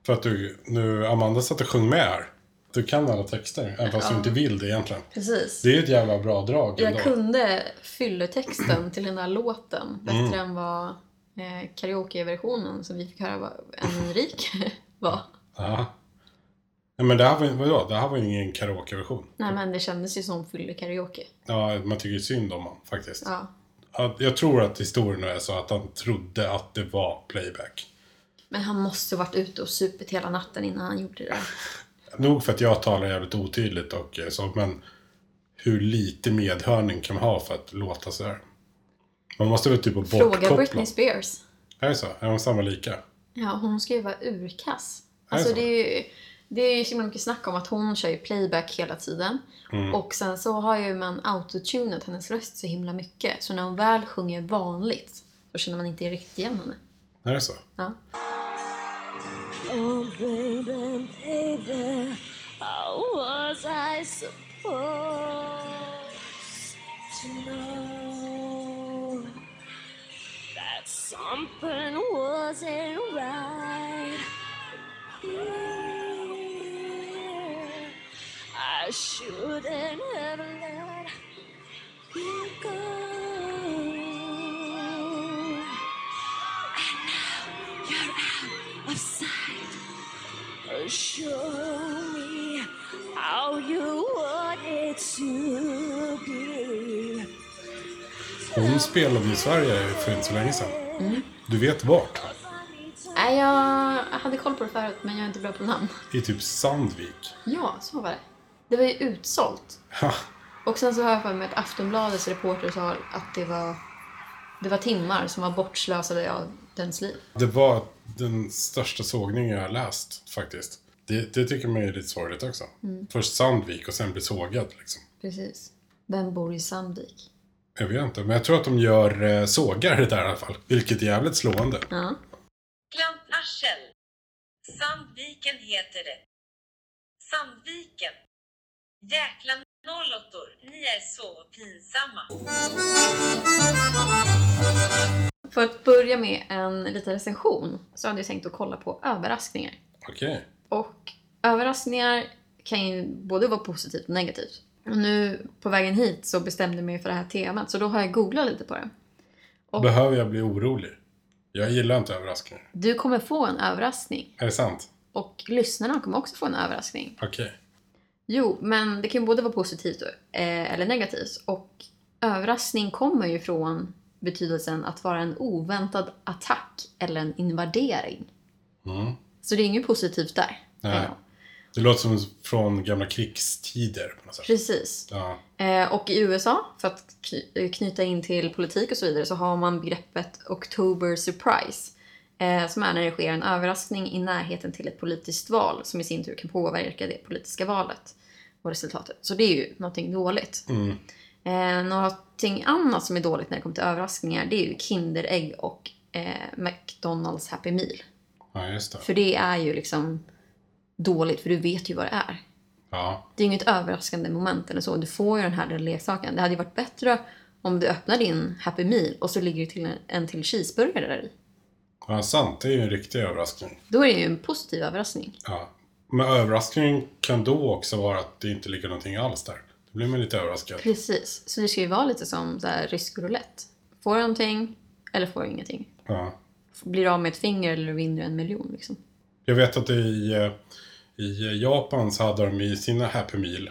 [SPEAKER 1] För att du, nu, Amanda satt och sjöng med här. Du kan alla texter, även fast du inte vill det egentligen.
[SPEAKER 2] Precis.
[SPEAKER 1] Det är ju ett jävla bra drag ändå.
[SPEAKER 2] Jag kunde fylletexten till den där låten bättre än vad eh, karaokeversionen som vi fick höra var en Enrique var.
[SPEAKER 1] Ja. Nej, men det här var, vadå? Det här var ju ingen karaokeversion.
[SPEAKER 2] Nej men det kändes ju som fyllekaraoke.
[SPEAKER 1] Ja, man tycker ju synd om honom faktiskt.
[SPEAKER 2] Ja.
[SPEAKER 1] Att- Jag tror att historien är så att han trodde att det var playback.
[SPEAKER 2] Men han måste varit ute och supit hela natten innan han gjorde det där.
[SPEAKER 1] Nog för att jag talar jävligt otydligt och eh, så, men hur lite medhörning kan man ha för att låta så här? Man måste väl typ
[SPEAKER 2] Fråga
[SPEAKER 1] bortkoppla.
[SPEAKER 2] Britney Spears.
[SPEAKER 1] Är det så? Är de samma lika?
[SPEAKER 2] Ja, hon ska ju vara urkass.
[SPEAKER 1] det
[SPEAKER 2] Alltså
[SPEAKER 1] så?
[SPEAKER 2] det är ju, det är ju så himla mycket snack om att hon kör ju playback hela tiden. Och sen så har ju man autotunat hennes röst så himla mycket. Så när hon väl sjunger vanligt så känner man inte riktigt igen henne.
[SPEAKER 1] Är det så?
[SPEAKER 2] Ja.
[SPEAKER 8] Oh, baby, baby, how was I supposed to know that something wasn't right? Here, I shouldn't have let you go. You're out of sight. Show me how you want it to be.
[SPEAKER 1] Hon spelade ju i Sverige för inte så länge sedan.
[SPEAKER 2] Mm.
[SPEAKER 1] Du vet vart?
[SPEAKER 2] Nej, jag hade koll på det förut men jag är inte bra på namn.
[SPEAKER 1] I typ Sandvik.
[SPEAKER 2] Ja, så var det. Det var ju utsålt.
[SPEAKER 1] Ha.
[SPEAKER 2] Och sen så har jag för mig att Aftonbladets reporter sa att det var, det var timmar som var bortslösade av dens liv.
[SPEAKER 1] Det var den största sågningen jag har läst faktiskt. Det, det tycker man är lite sorgligt också.
[SPEAKER 2] Mm.
[SPEAKER 1] Först Sandvik och sen bli sågad liksom.
[SPEAKER 2] Precis. Vem bor i Sandvik?
[SPEAKER 1] Jag vet inte, men jag tror att de gör eh, sågar det där i alla fall. Vilket är jävligt slående.
[SPEAKER 2] Ja.
[SPEAKER 9] Klantarsel. Sandviken heter det. Sandviken. Jäkla nollåttor, ni är så pinsamma.
[SPEAKER 2] För att börja med en liten recension så hade jag tänkt att kolla på överraskningar.
[SPEAKER 1] Okej.
[SPEAKER 2] Och överraskningar kan ju både vara positivt och negativt. Och nu på vägen hit så bestämde jag mig för det här temat så då har jag googlat lite på det. Och-
[SPEAKER 1] Behöver jag bli orolig? Jag gillar inte överraskningar.
[SPEAKER 2] Du kommer få en överraskning
[SPEAKER 1] Är det sant?
[SPEAKER 2] och lyssnarna kommer också få en överraskning.
[SPEAKER 1] Okej.
[SPEAKER 2] Jo, men det kan ju både vara positivt och- eh, eller negativt. Och överraskning kommer ju från betydelsen att vara en oväntad attack eller en invadering.
[SPEAKER 1] Mm.
[SPEAKER 2] Så det är inget positivt där. Eh,
[SPEAKER 1] Nej.
[SPEAKER 2] Ja,
[SPEAKER 1] Det låter som från gamla krigstider på något sätt.
[SPEAKER 2] Precis.
[SPEAKER 1] Ja.
[SPEAKER 2] Eh, Och i USA, för att kny- eh, knyta in till politik och så vidare, så har man begreppet October surprise. eh, Som är när det sker en överraskning i närheten till ett politiskt val som i sin tur kan påverka det politiska valet och resultatet. Så det är ju någonting dåligt.
[SPEAKER 1] Mm.
[SPEAKER 2] Eh, någonting annat som är dåligt när det kommer till överraskningar det är ju Kinderägg och eh, McDonalds Happy Meal.
[SPEAKER 1] ja, just det.
[SPEAKER 2] För det är ju liksom dåligt, för du vet ju vad det är.
[SPEAKER 1] Ja.
[SPEAKER 2] Det är inget överraskande moment eller så. Du får ju den här lilla leksaken. Det hade ju varit bättre om du öppnar din Happy Meal och så ligger det till en, en till cheeseburgare där i.
[SPEAKER 1] ja, sant. Det är ju en riktig överraskning.
[SPEAKER 2] Då är det ju en positiv överraskning.
[SPEAKER 1] Ja. Men överraskningen kan då också vara att det inte ligger någonting alls där. Då blir man lite överraskad.
[SPEAKER 2] Precis. Så det ska ju vara lite som så här, rysk roulette. Får du någonting eller får du ingenting?
[SPEAKER 1] Ja.
[SPEAKER 2] Blir du av med ett finger eller vinner du en miljon? Liksom.
[SPEAKER 1] Jag vet att i, eh, i Japan så hade de i sina Happy Meal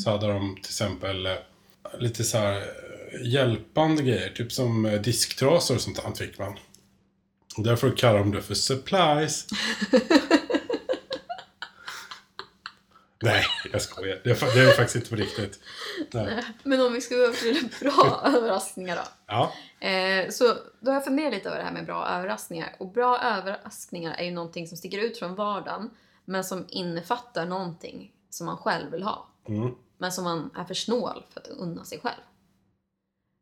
[SPEAKER 1] så hade de till exempel eh, lite så här eh, hjälpande grejer, typ som eh, disktrasor och sånt där fick man. Och Därför kallar de det för supplies. Nej, jag skojar. Det är, fa- det är faktiskt inte på riktigt. Nej.
[SPEAKER 2] Men om vi ska gå över till bra överraskningar då.
[SPEAKER 1] Ja,
[SPEAKER 2] Eh, så då har jag funderat lite över det här med bra överraskningar. Och bra överraskningar är ju någonting som sticker ut från vardagen men som innefattar någonting som man själv vill ha.
[SPEAKER 1] Mm.
[SPEAKER 2] Men som man är för snål för att unna sig själv.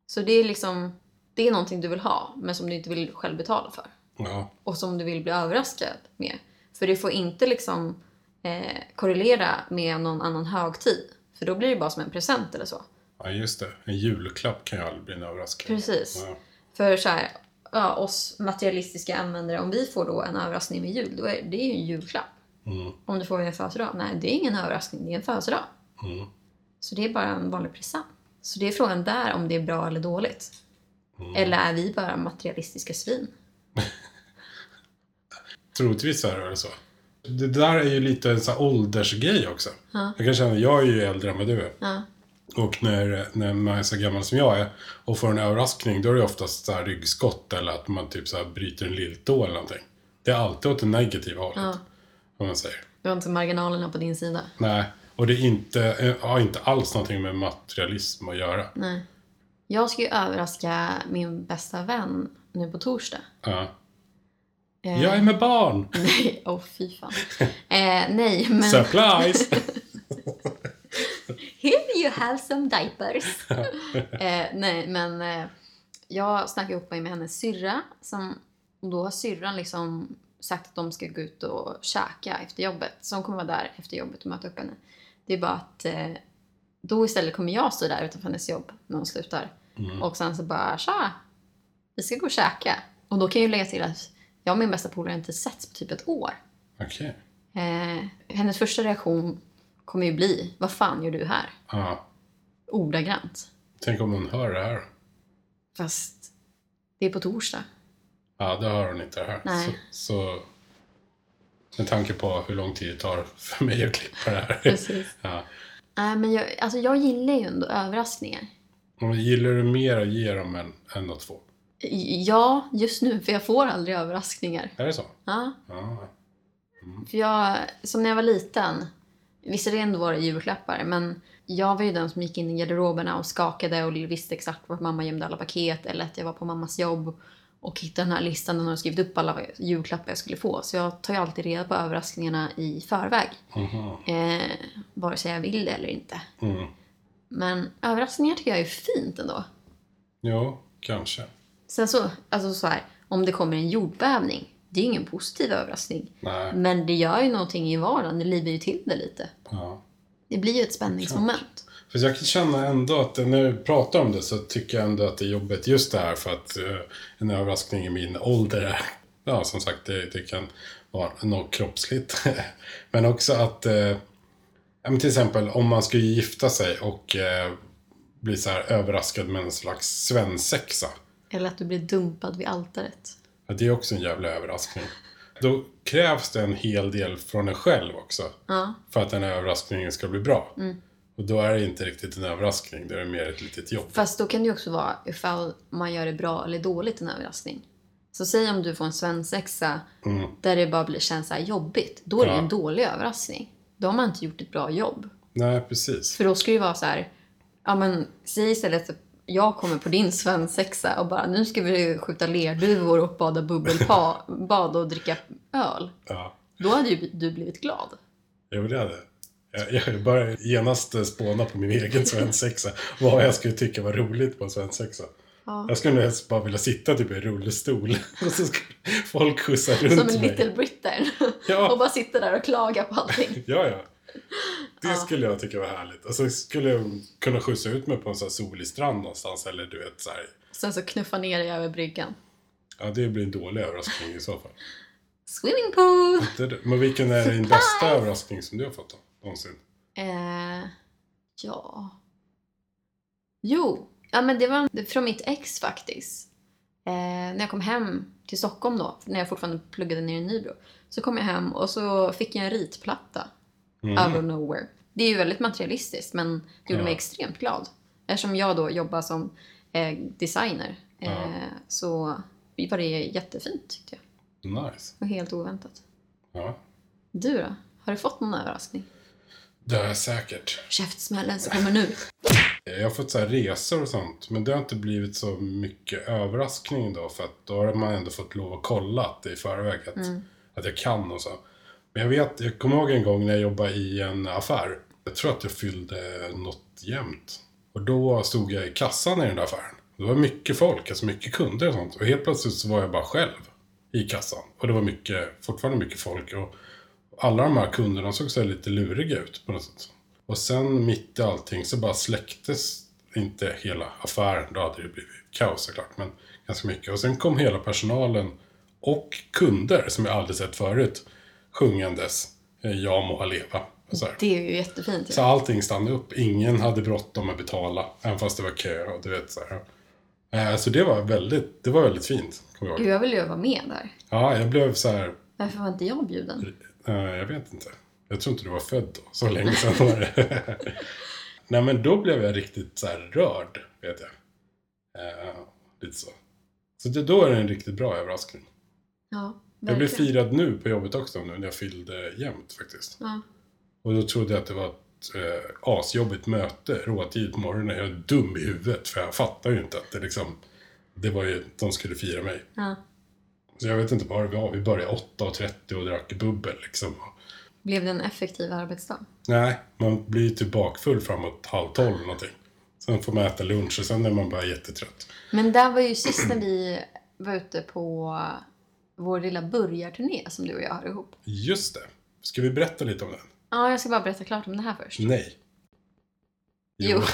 [SPEAKER 2] Så det är liksom, det är någonting du vill ha men som du inte vill själv betala för.
[SPEAKER 1] ja.
[SPEAKER 2] och som du vill bli överraskad med. För det får inte liksom eh, korrelera med någon annan högtid. För då blir det bara som en present eller så.
[SPEAKER 1] ja, just det. En julklapp kan ju aldrig bli en överraskning.
[SPEAKER 2] Precis.
[SPEAKER 1] Ja.
[SPEAKER 2] För så här, ja, oss materialistiska användare, om vi får då en överraskning med jul, då är det är ju en julklapp.
[SPEAKER 1] Mm.
[SPEAKER 2] Om du får en födelsedag, nej det är ingen överraskning, det är en födelsedag.
[SPEAKER 1] Mm.
[SPEAKER 2] Så det är bara en vanlig present. Så det är frågan där om det är bra eller dåligt.
[SPEAKER 1] Mm.
[SPEAKER 2] Eller är vi bara materialistiska svin?
[SPEAKER 1] Troligtvis är det väl så. Det där är ju lite en sån här åldersgrej också. Jag kan känna, jag är ju äldre än vad du är.
[SPEAKER 2] Ja.
[SPEAKER 1] Och när, när man är så gammal som jag är och får en överraskning, då är det oftast så här ryggskott eller att man typ så här bryter en lilltå eller någonting. Det är alltid åt det negativa hållet. Om man säger.
[SPEAKER 2] Du har inte marginalerna på din sida.
[SPEAKER 1] Nej, och det är inte, eh, har inte alls någonting med materialism att göra.
[SPEAKER 2] Nej. Jag ska ju överraska min bästa vän nu på torsdag.
[SPEAKER 1] Ja.
[SPEAKER 2] Eh,
[SPEAKER 1] Jag är med barn!
[SPEAKER 2] Nej, åh fy fan. Eh, nej, men...
[SPEAKER 1] Surprise!
[SPEAKER 2] Here you have some diapers. eh, nej, men eh, jag snackade ihop mig med hennes syrra. Som, och då har syrran liksom sagt att de ska gå ut och käka efter jobbet. Så hon kommer vara där efter jobbet och möta upp henne. Det är bara att eh, då istället kommer jag stå där utanför hennes jobb när hon slutar. Och sen så bara tja, vi ska gå och käka. Och då kan jag ju lägga till att jag och min bästa polare inte setts på typ ett år.
[SPEAKER 1] Okej.
[SPEAKER 2] Eh, hennes första reaktion kommer ju bli, vad fan gör du här?
[SPEAKER 1] Ja.
[SPEAKER 2] Ordagrant.
[SPEAKER 1] Tänk om hon hör det här.
[SPEAKER 2] Fast det är på torsdag.
[SPEAKER 1] Ja, det har hon inte det här.
[SPEAKER 2] Nej.
[SPEAKER 1] Så, så med tanke på hur lång tid det tar för mig att klippa det här.
[SPEAKER 2] Precis.
[SPEAKER 1] Ja.
[SPEAKER 2] Nej, men jag, alltså jag gillar ju ändå överraskningar.
[SPEAKER 1] Men Gillar du mer att ge dem än, än att få?
[SPEAKER 2] I- Ja, just nu, för jag får aldrig överraskningar.
[SPEAKER 1] Är det så?
[SPEAKER 2] Ja,
[SPEAKER 1] Ja.
[SPEAKER 2] för jag, som när jag var liten, visserligen då var det julklappar, men jag var ju den som gick in i garderoberna och skakade och visste exakt vart mamma gömde alla paket eller att jag var på mammas jobb och hittade den här listan och hade skrivit upp alla julklappar jag skulle få. Så jag tar ju alltid reda på överraskningarna i förväg.
[SPEAKER 1] Mhm.
[SPEAKER 2] Eh, vare sig jag vill det eller inte.
[SPEAKER 1] Mm.
[SPEAKER 2] Men överraskningar tycker jag är fint ändå.
[SPEAKER 1] Jo, kanske.
[SPEAKER 2] Sen så, alltså så här, om det kommer en jordbävning, det är ju ingen positiv överraskning.
[SPEAKER 1] Nej.
[SPEAKER 2] Men det gör ju någonting i vardagen, det livar ju till det lite.
[SPEAKER 1] Ja.
[SPEAKER 2] Det blir ju ett spänningsmoment.
[SPEAKER 1] För jag kan känna ändå att när du pratar om det så tycker jag ändå att det är jobbigt just det här för att eh, en överraskning i min ålder är, ja som sagt det, det kan vara något kroppsligt. men också att, eh, ja, men till exempel om man skulle gifta sig och eh, bli så här överraskad med en slags svensexa.
[SPEAKER 2] Eller att du blir dumpad vid altaret.
[SPEAKER 1] Ja, det är också en jävla överraskning. Då krävs det en hel del från en själv också.
[SPEAKER 2] Ja,
[SPEAKER 1] För att den här överraskningen ska bli bra. Och då är det inte riktigt en överraskning, då är det mer ett litet jobb.
[SPEAKER 2] fast då kan det ju också vara ifall man gör det bra eller dåligt en överraskning. Så säg om du får en svensexa där det bara blir, känns så här jobbigt. Då är det
[SPEAKER 1] Ja.
[SPEAKER 2] ju en dålig överraskning. Då har man inte gjort ett bra jobb.
[SPEAKER 1] Nej, precis.
[SPEAKER 2] För då ska det ju vara så här, ja men säg istället att jag kommer på din svensexa och bara nu ska vi skjuta lerduvor och bada bubbelbad och dricka öl.
[SPEAKER 1] Ja,
[SPEAKER 2] Då hade ju du blivit glad.
[SPEAKER 1] jag vill det. Jag, jag började genast eh, spåna på min egen svensexa. Vad jag skulle tycka var roligt på en svensexa.
[SPEAKER 2] Ja.
[SPEAKER 1] Jag skulle nog helst bara vilja sitta typ i en rullstol. Och så skulle folk skjutsa runt
[SPEAKER 2] Som en
[SPEAKER 1] mig.
[SPEAKER 2] little britter.
[SPEAKER 1] Ja.
[SPEAKER 2] Och bara sitta där och klaga på allting.
[SPEAKER 1] Ja, ja. Det skulle jag tycka var härligt. Och så skulle jag kunna skjutsa ut mig på en sån här solig strand någonstans. Eller du vet så här.
[SPEAKER 2] Sen så knuffa ner dig över bryggan.
[SPEAKER 1] Ja, det blir en dålig överraskning i så fall.
[SPEAKER 2] Swimming pool!
[SPEAKER 1] Det är det. Men vilken är din bästa överraskning som du har fått då? Någonsin?
[SPEAKER 2] Eh, ja. Jo, ja, men det var en- från mitt ex faktiskt. Eh, när jag kom hem till Stockholm då, när jag fortfarande pluggade nere i Nybro. Så kom jag hem och så fick jag en ritplatta.
[SPEAKER 1] Mm.
[SPEAKER 2] Out of nowhere. Det är ju väldigt materialistiskt men det gjorde
[SPEAKER 1] Ja.
[SPEAKER 2] mig extremt glad. Eftersom jag då jobbar som eh, designer eh,
[SPEAKER 1] Ja.
[SPEAKER 2] så var det jättefint tyckte jag.
[SPEAKER 1] Nice.
[SPEAKER 2] Och helt oväntat.
[SPEAKER 1] Ja.
[SPEAKER 2] Du då? Har du fått någon överraskning?
[SPEAKER 1] Det har jag säkert.
[SPEAKER 2] Käftsmällen som kommer nu.
[SPEAKER 1] Eh, Jag har fått så här resor och sånt. Men det har inte blivit så mycket överraskning då. För att då har man ändå fått lov att kolla att det i förväg. Att, att jag kan och så. Men jag vet, jag kommer ihåg en gång när jag jobbade i en affär. Jag tror att jag fyllde något jämnt. Och då stod jag i kassan i den där affären. Det var mycket folk, alltså mycket kunder och sånt. Och helt plötsligt så var jag bara själv i kassan. Och det var mycket, fortfarande mycket folk. Och alla de här kunderna såg så här lite luriga ut på något sätt. Och sen mitt i allting så bara släcktes inte hela affären. Då hade det blivit kaos såklart, men ganska mycket. Och sen kom hela personalen och kunder som jag aldrig sett förut sjungandes eh, Jag må ha leva. Och Så, här.
[SPEAKER 2] Det är ju jättefint. ju.
[SPEAKER 1] så allting stannade upp. Ingen hade bråttom att betala, även fast det var kö och du vet så här. Eh, Så det var väldigt, det var väldigt fint, kommer jag
[SPEAKER 2] Gud,
[SPEAKER 1] ihåg.
[SPEAKER 2] jag vill ju vara med där.
[SPEAKER 1] Ja, jag blev så här
[SPEAKER 2] Varför var inte jag bjuden?
[SPEAKER 1] Eh, jag vet inte. Jag tror inte du var född då. Så länge sedan var det. Nej, men då blev jag riktigt så här rörd, vet jag. Eh, lite så. Så det, då är det en riktigt bra överraskning.
[SPEAKER 2] Ja,
[SPEAKER 1] Jag blev
[SPEAKER 2] verkligen.
[SPEAKER 1] firad nu på jobbet också, nu när jag fyllde jämnt faktiskt.
[SPEAKER 2] Ja.
[SPEAKER 1] Och då trodde jag att det var ett eh, asjobbigt möte råtidigt på morgonen. Jag är dum i huvudet, för jag fattar ju inte att det liksom... Det var ju, de skulle fira mig.
[SPEAKER 2] Ja.
[SPEAKER 1] Så jag vet inte vad det var. Vi började 8.30 och drack bubbel liksom.
[SPEAKER 2] Blev det en effektiv arbetsdag?
[SPEAKER 1] Nej, man blir ju typ bakfull framåt halv tolv eller någonting. Sen får man äta lunch och sen är man bara jättetrött.
[SPEAKER 2] Men där var ju sist när vi var ute på vår lilla burgarturné som du och jag har ihop.
[SPEAKER 1] Just det. Ska vi berätta lite om den?
[SPEAKER 2] Ja, jag ska bara berätta klart om det här först.
[SPEAKER 1] Nej.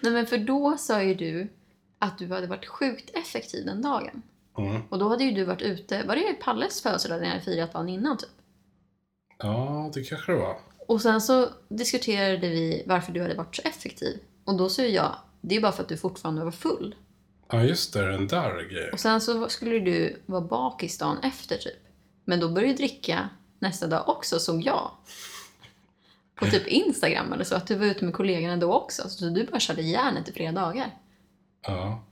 [SPEAKER 2] Nej, men för då sa ju du att du hade varit sjukt effektiv den dagen.
[SPEAKER 1] Mm.
[SPEAKER 2] Och då hade ju du varit ute, var det Palles födelsedag när jag firat dagen innan typ?
[SPEAKER 1] Ja, det kanske det var.
[SPEAKER 2] Och sen så diskuterade vi varför du hade varit så effektiv. Och då sa ju jag, det är bara för att du fortfarande var full.
[SPEAKER 1] Ja, just det. Den där grejen.
[SPEAKER 2] Och sen så skulle du vara bakis dagen efter typ. Men då började du dricka nästa dag också, såg jag. På typ Instagram eller så, att du var ute med kollegorna då också. Så du bara körde järnet i flera dagar.
[SPEAKER 1] Ja.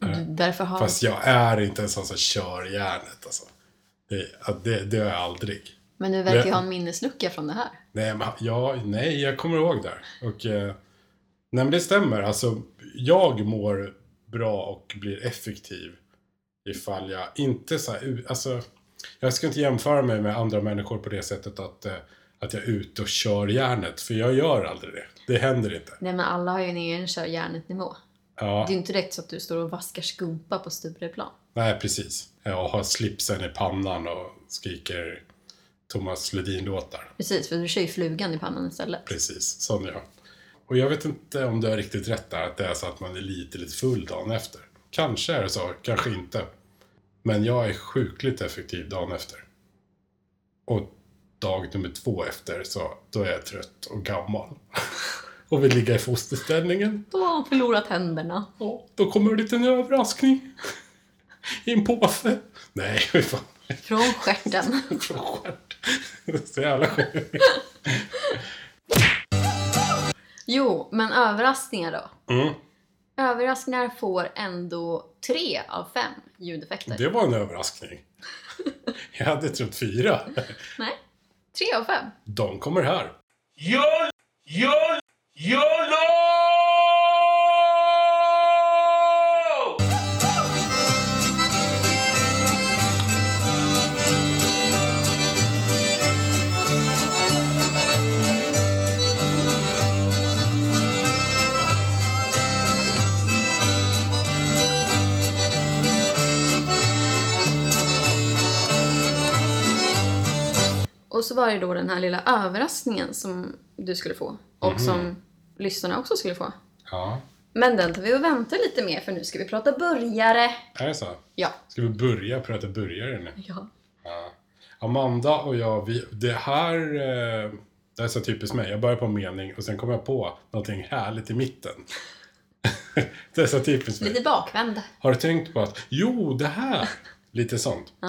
[SPEAKER 2] Och du, därför har...
[SPEAKER 1] Eh, Fast jag är inte en sån som kör järnet alltså. Det, ja, det, det är jag aldrig.
[SPEAKER 2] Men du verkar ju
[SPEAKER 1] Men-
[SPEAKER 2] ha en minneslucka från det här.
[SPEAKER 1] Nej, men, ja, nej, jag kommer ihåg där. Och, eh, nej, men det stämmer. Alltså, jag mår bra och blir effektiv ifall jag inte så här, u- alltså, jag ska inte jämföra mig med andra människor på det sättet att, eh, att jag är ute och kör järnet, för jag gör aldrig det. Det händer inte.
[SPEAKER 2] Nej men alla har ju en egen kör järnet-nivå.
[SPEAKER 1] Ja,
[SPEAKER 2] Det är ju inte direkt så att du står och vaskar skumpa på Stureplan.
[SPEAKER 1] nej, precis. Jag har slipsen i pannan och skriker Thomas Ledin-låtar.
[SPEAKER 2] Precis, för du kör ju flugan i pannan istället.
[SPEAKER 1] Precis, sån är jag. Och jag vet inte om du har riktigt rätt där, att det är så att man är lite, lite full dagen efter. Kanske är det så, kanske inte. Men jag är sjukligt effektiv dagen efter. Och dag nummer två efter, så då är jag trött och gammal. och vill ligga i fosterställningen.
[SPEAKER 2] Då har han förlorat händerna.
[SPEAKER 1] Ja, då kommer det en liten överraskning. I en påse. Nej, fy fan.
[SPEAKER 2] Från stjärten.
[SPEAKER 1] Från stjärt. Så jävla sjukt.
[SPEAKER 2] Jo, men överraskningar då?
[SPEAKER 1] Mm,
[SPEAKER 2] Överraskningar får ändå tre av fem ljudeffekter.
[SPEAKER 1] det var en överraskning. Jag hade trott fyra.
[SPEAKER 2] Nej, tre av fem.
[SPEAKER 1] De kommer här.
[SPEAKER 7] YOL YOL YOLO!
[SPEAKER 2] Och så var det då den här lilla överraskningen som du skulle få. Och
[SPEAKER 1] Mhm.
[SPEAKER 2] som lyssnarna också skulle få.
[SPEAKER 1] Ja.
[SPEAKER 2] Men den tar vi och väntar lite med för nu ska vi prata burgare.
[SPEAKER 1] Är det så?
[SPEAKER 2] Ja.
[SPEAKER 1] Ska vi börja prata burgare nu?
[SPEAKER 2] Ja.
[SPEAKER 1] Amanda och jag, vi, det här... Eh, det här är så typiskt mig. Jag börjar på en mening och sen kommer jag på någonting härligt i mitten. det är så typiskt mig.
[SPEAKER 2] Lite bakvänd.
[SPEAKER 1] Har du tänkt på att, jo det här, lite sånt.
[SPEAKER 2] Ja.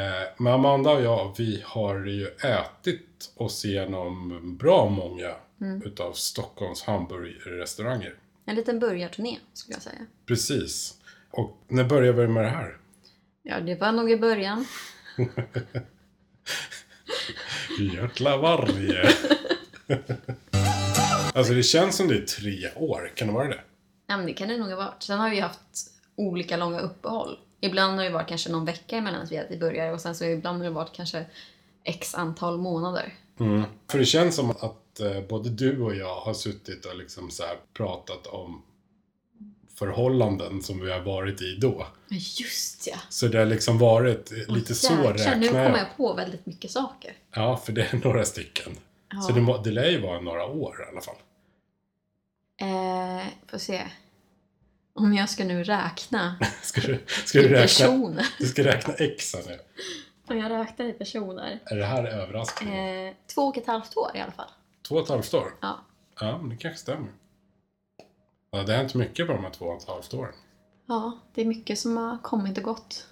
[SPEAKER 1] Eh, Men Amanda och jag, vi har ju ätit oss igenom bra många
[SPEAKER 2] Mm.
[SPEAKER 1] utav Stockholms hamburgerrestauranger.
[SPEAKER 2] En liten burgarturné skulle jag säga.
[SPEAKER 1] Precis. Och när började vi med det här?
[SPEAKER 2] Ja, det var nog i början.
[SPEAKER 1] Jäkla varje. alltså det känns som det är tre år, kan det vara det?
[SPEAKER 2] Ja, men det kan det nog ha varit. Sen har vi ju haft olika långa uppehåll. Ibland har det varit kanske någon vecka emellan att vi ätit burgare och sen så ibland har det varit kanske x antal månader.
[SPEAKER 1] För det känns som att eh, både du och jag har suttit och liksom så här pratat om förhållanden som vi har varit i då.
[SPEAKER 2] Men just ja!
[SPEAKER 1] Så det har liksom varit eh, lite så
[SPEAKER 2] Jäklar, nu
[SPEAKER 1] räknar
[SPEAKER 2] kommer
[SPEAKER 1] jag.
[SPEAKER 2] jag på väldigt mycket saker.
[SPEAKER 1] Ja, för det är några stycken.
[SPEAKER 2] Ja.
[SPEAKER 1] Så det, må, det lär ju vara några år i alla fall.
[SPEAKER 2] Eh, får se. Om jag ska nu räkna
[SPEAKER 1] Ska du, ska
[SPEAKER 2] i
[SPEAKER 1] du räkna,
[SPEAKER 2] personer.
[SPEAKER 1] du ska räkna X här nu.
[SPEAKER 2] Om jag räknar i personer.
[SPEAKER 1] Är det här överraskning?
[SPEAKER 2] Eh, två och ett halvt år i alla fall.
[SPEAKER 1] Två och ett halvt år?
[SPEAKER 2] Ja.
[SPEAKER 1] Ja, men det kanske stämmer. Ja, det har hänt mycket på de här två och ett halvt åren.
[SPEAKER 2] Ja, det är mycket som har kommit och gått.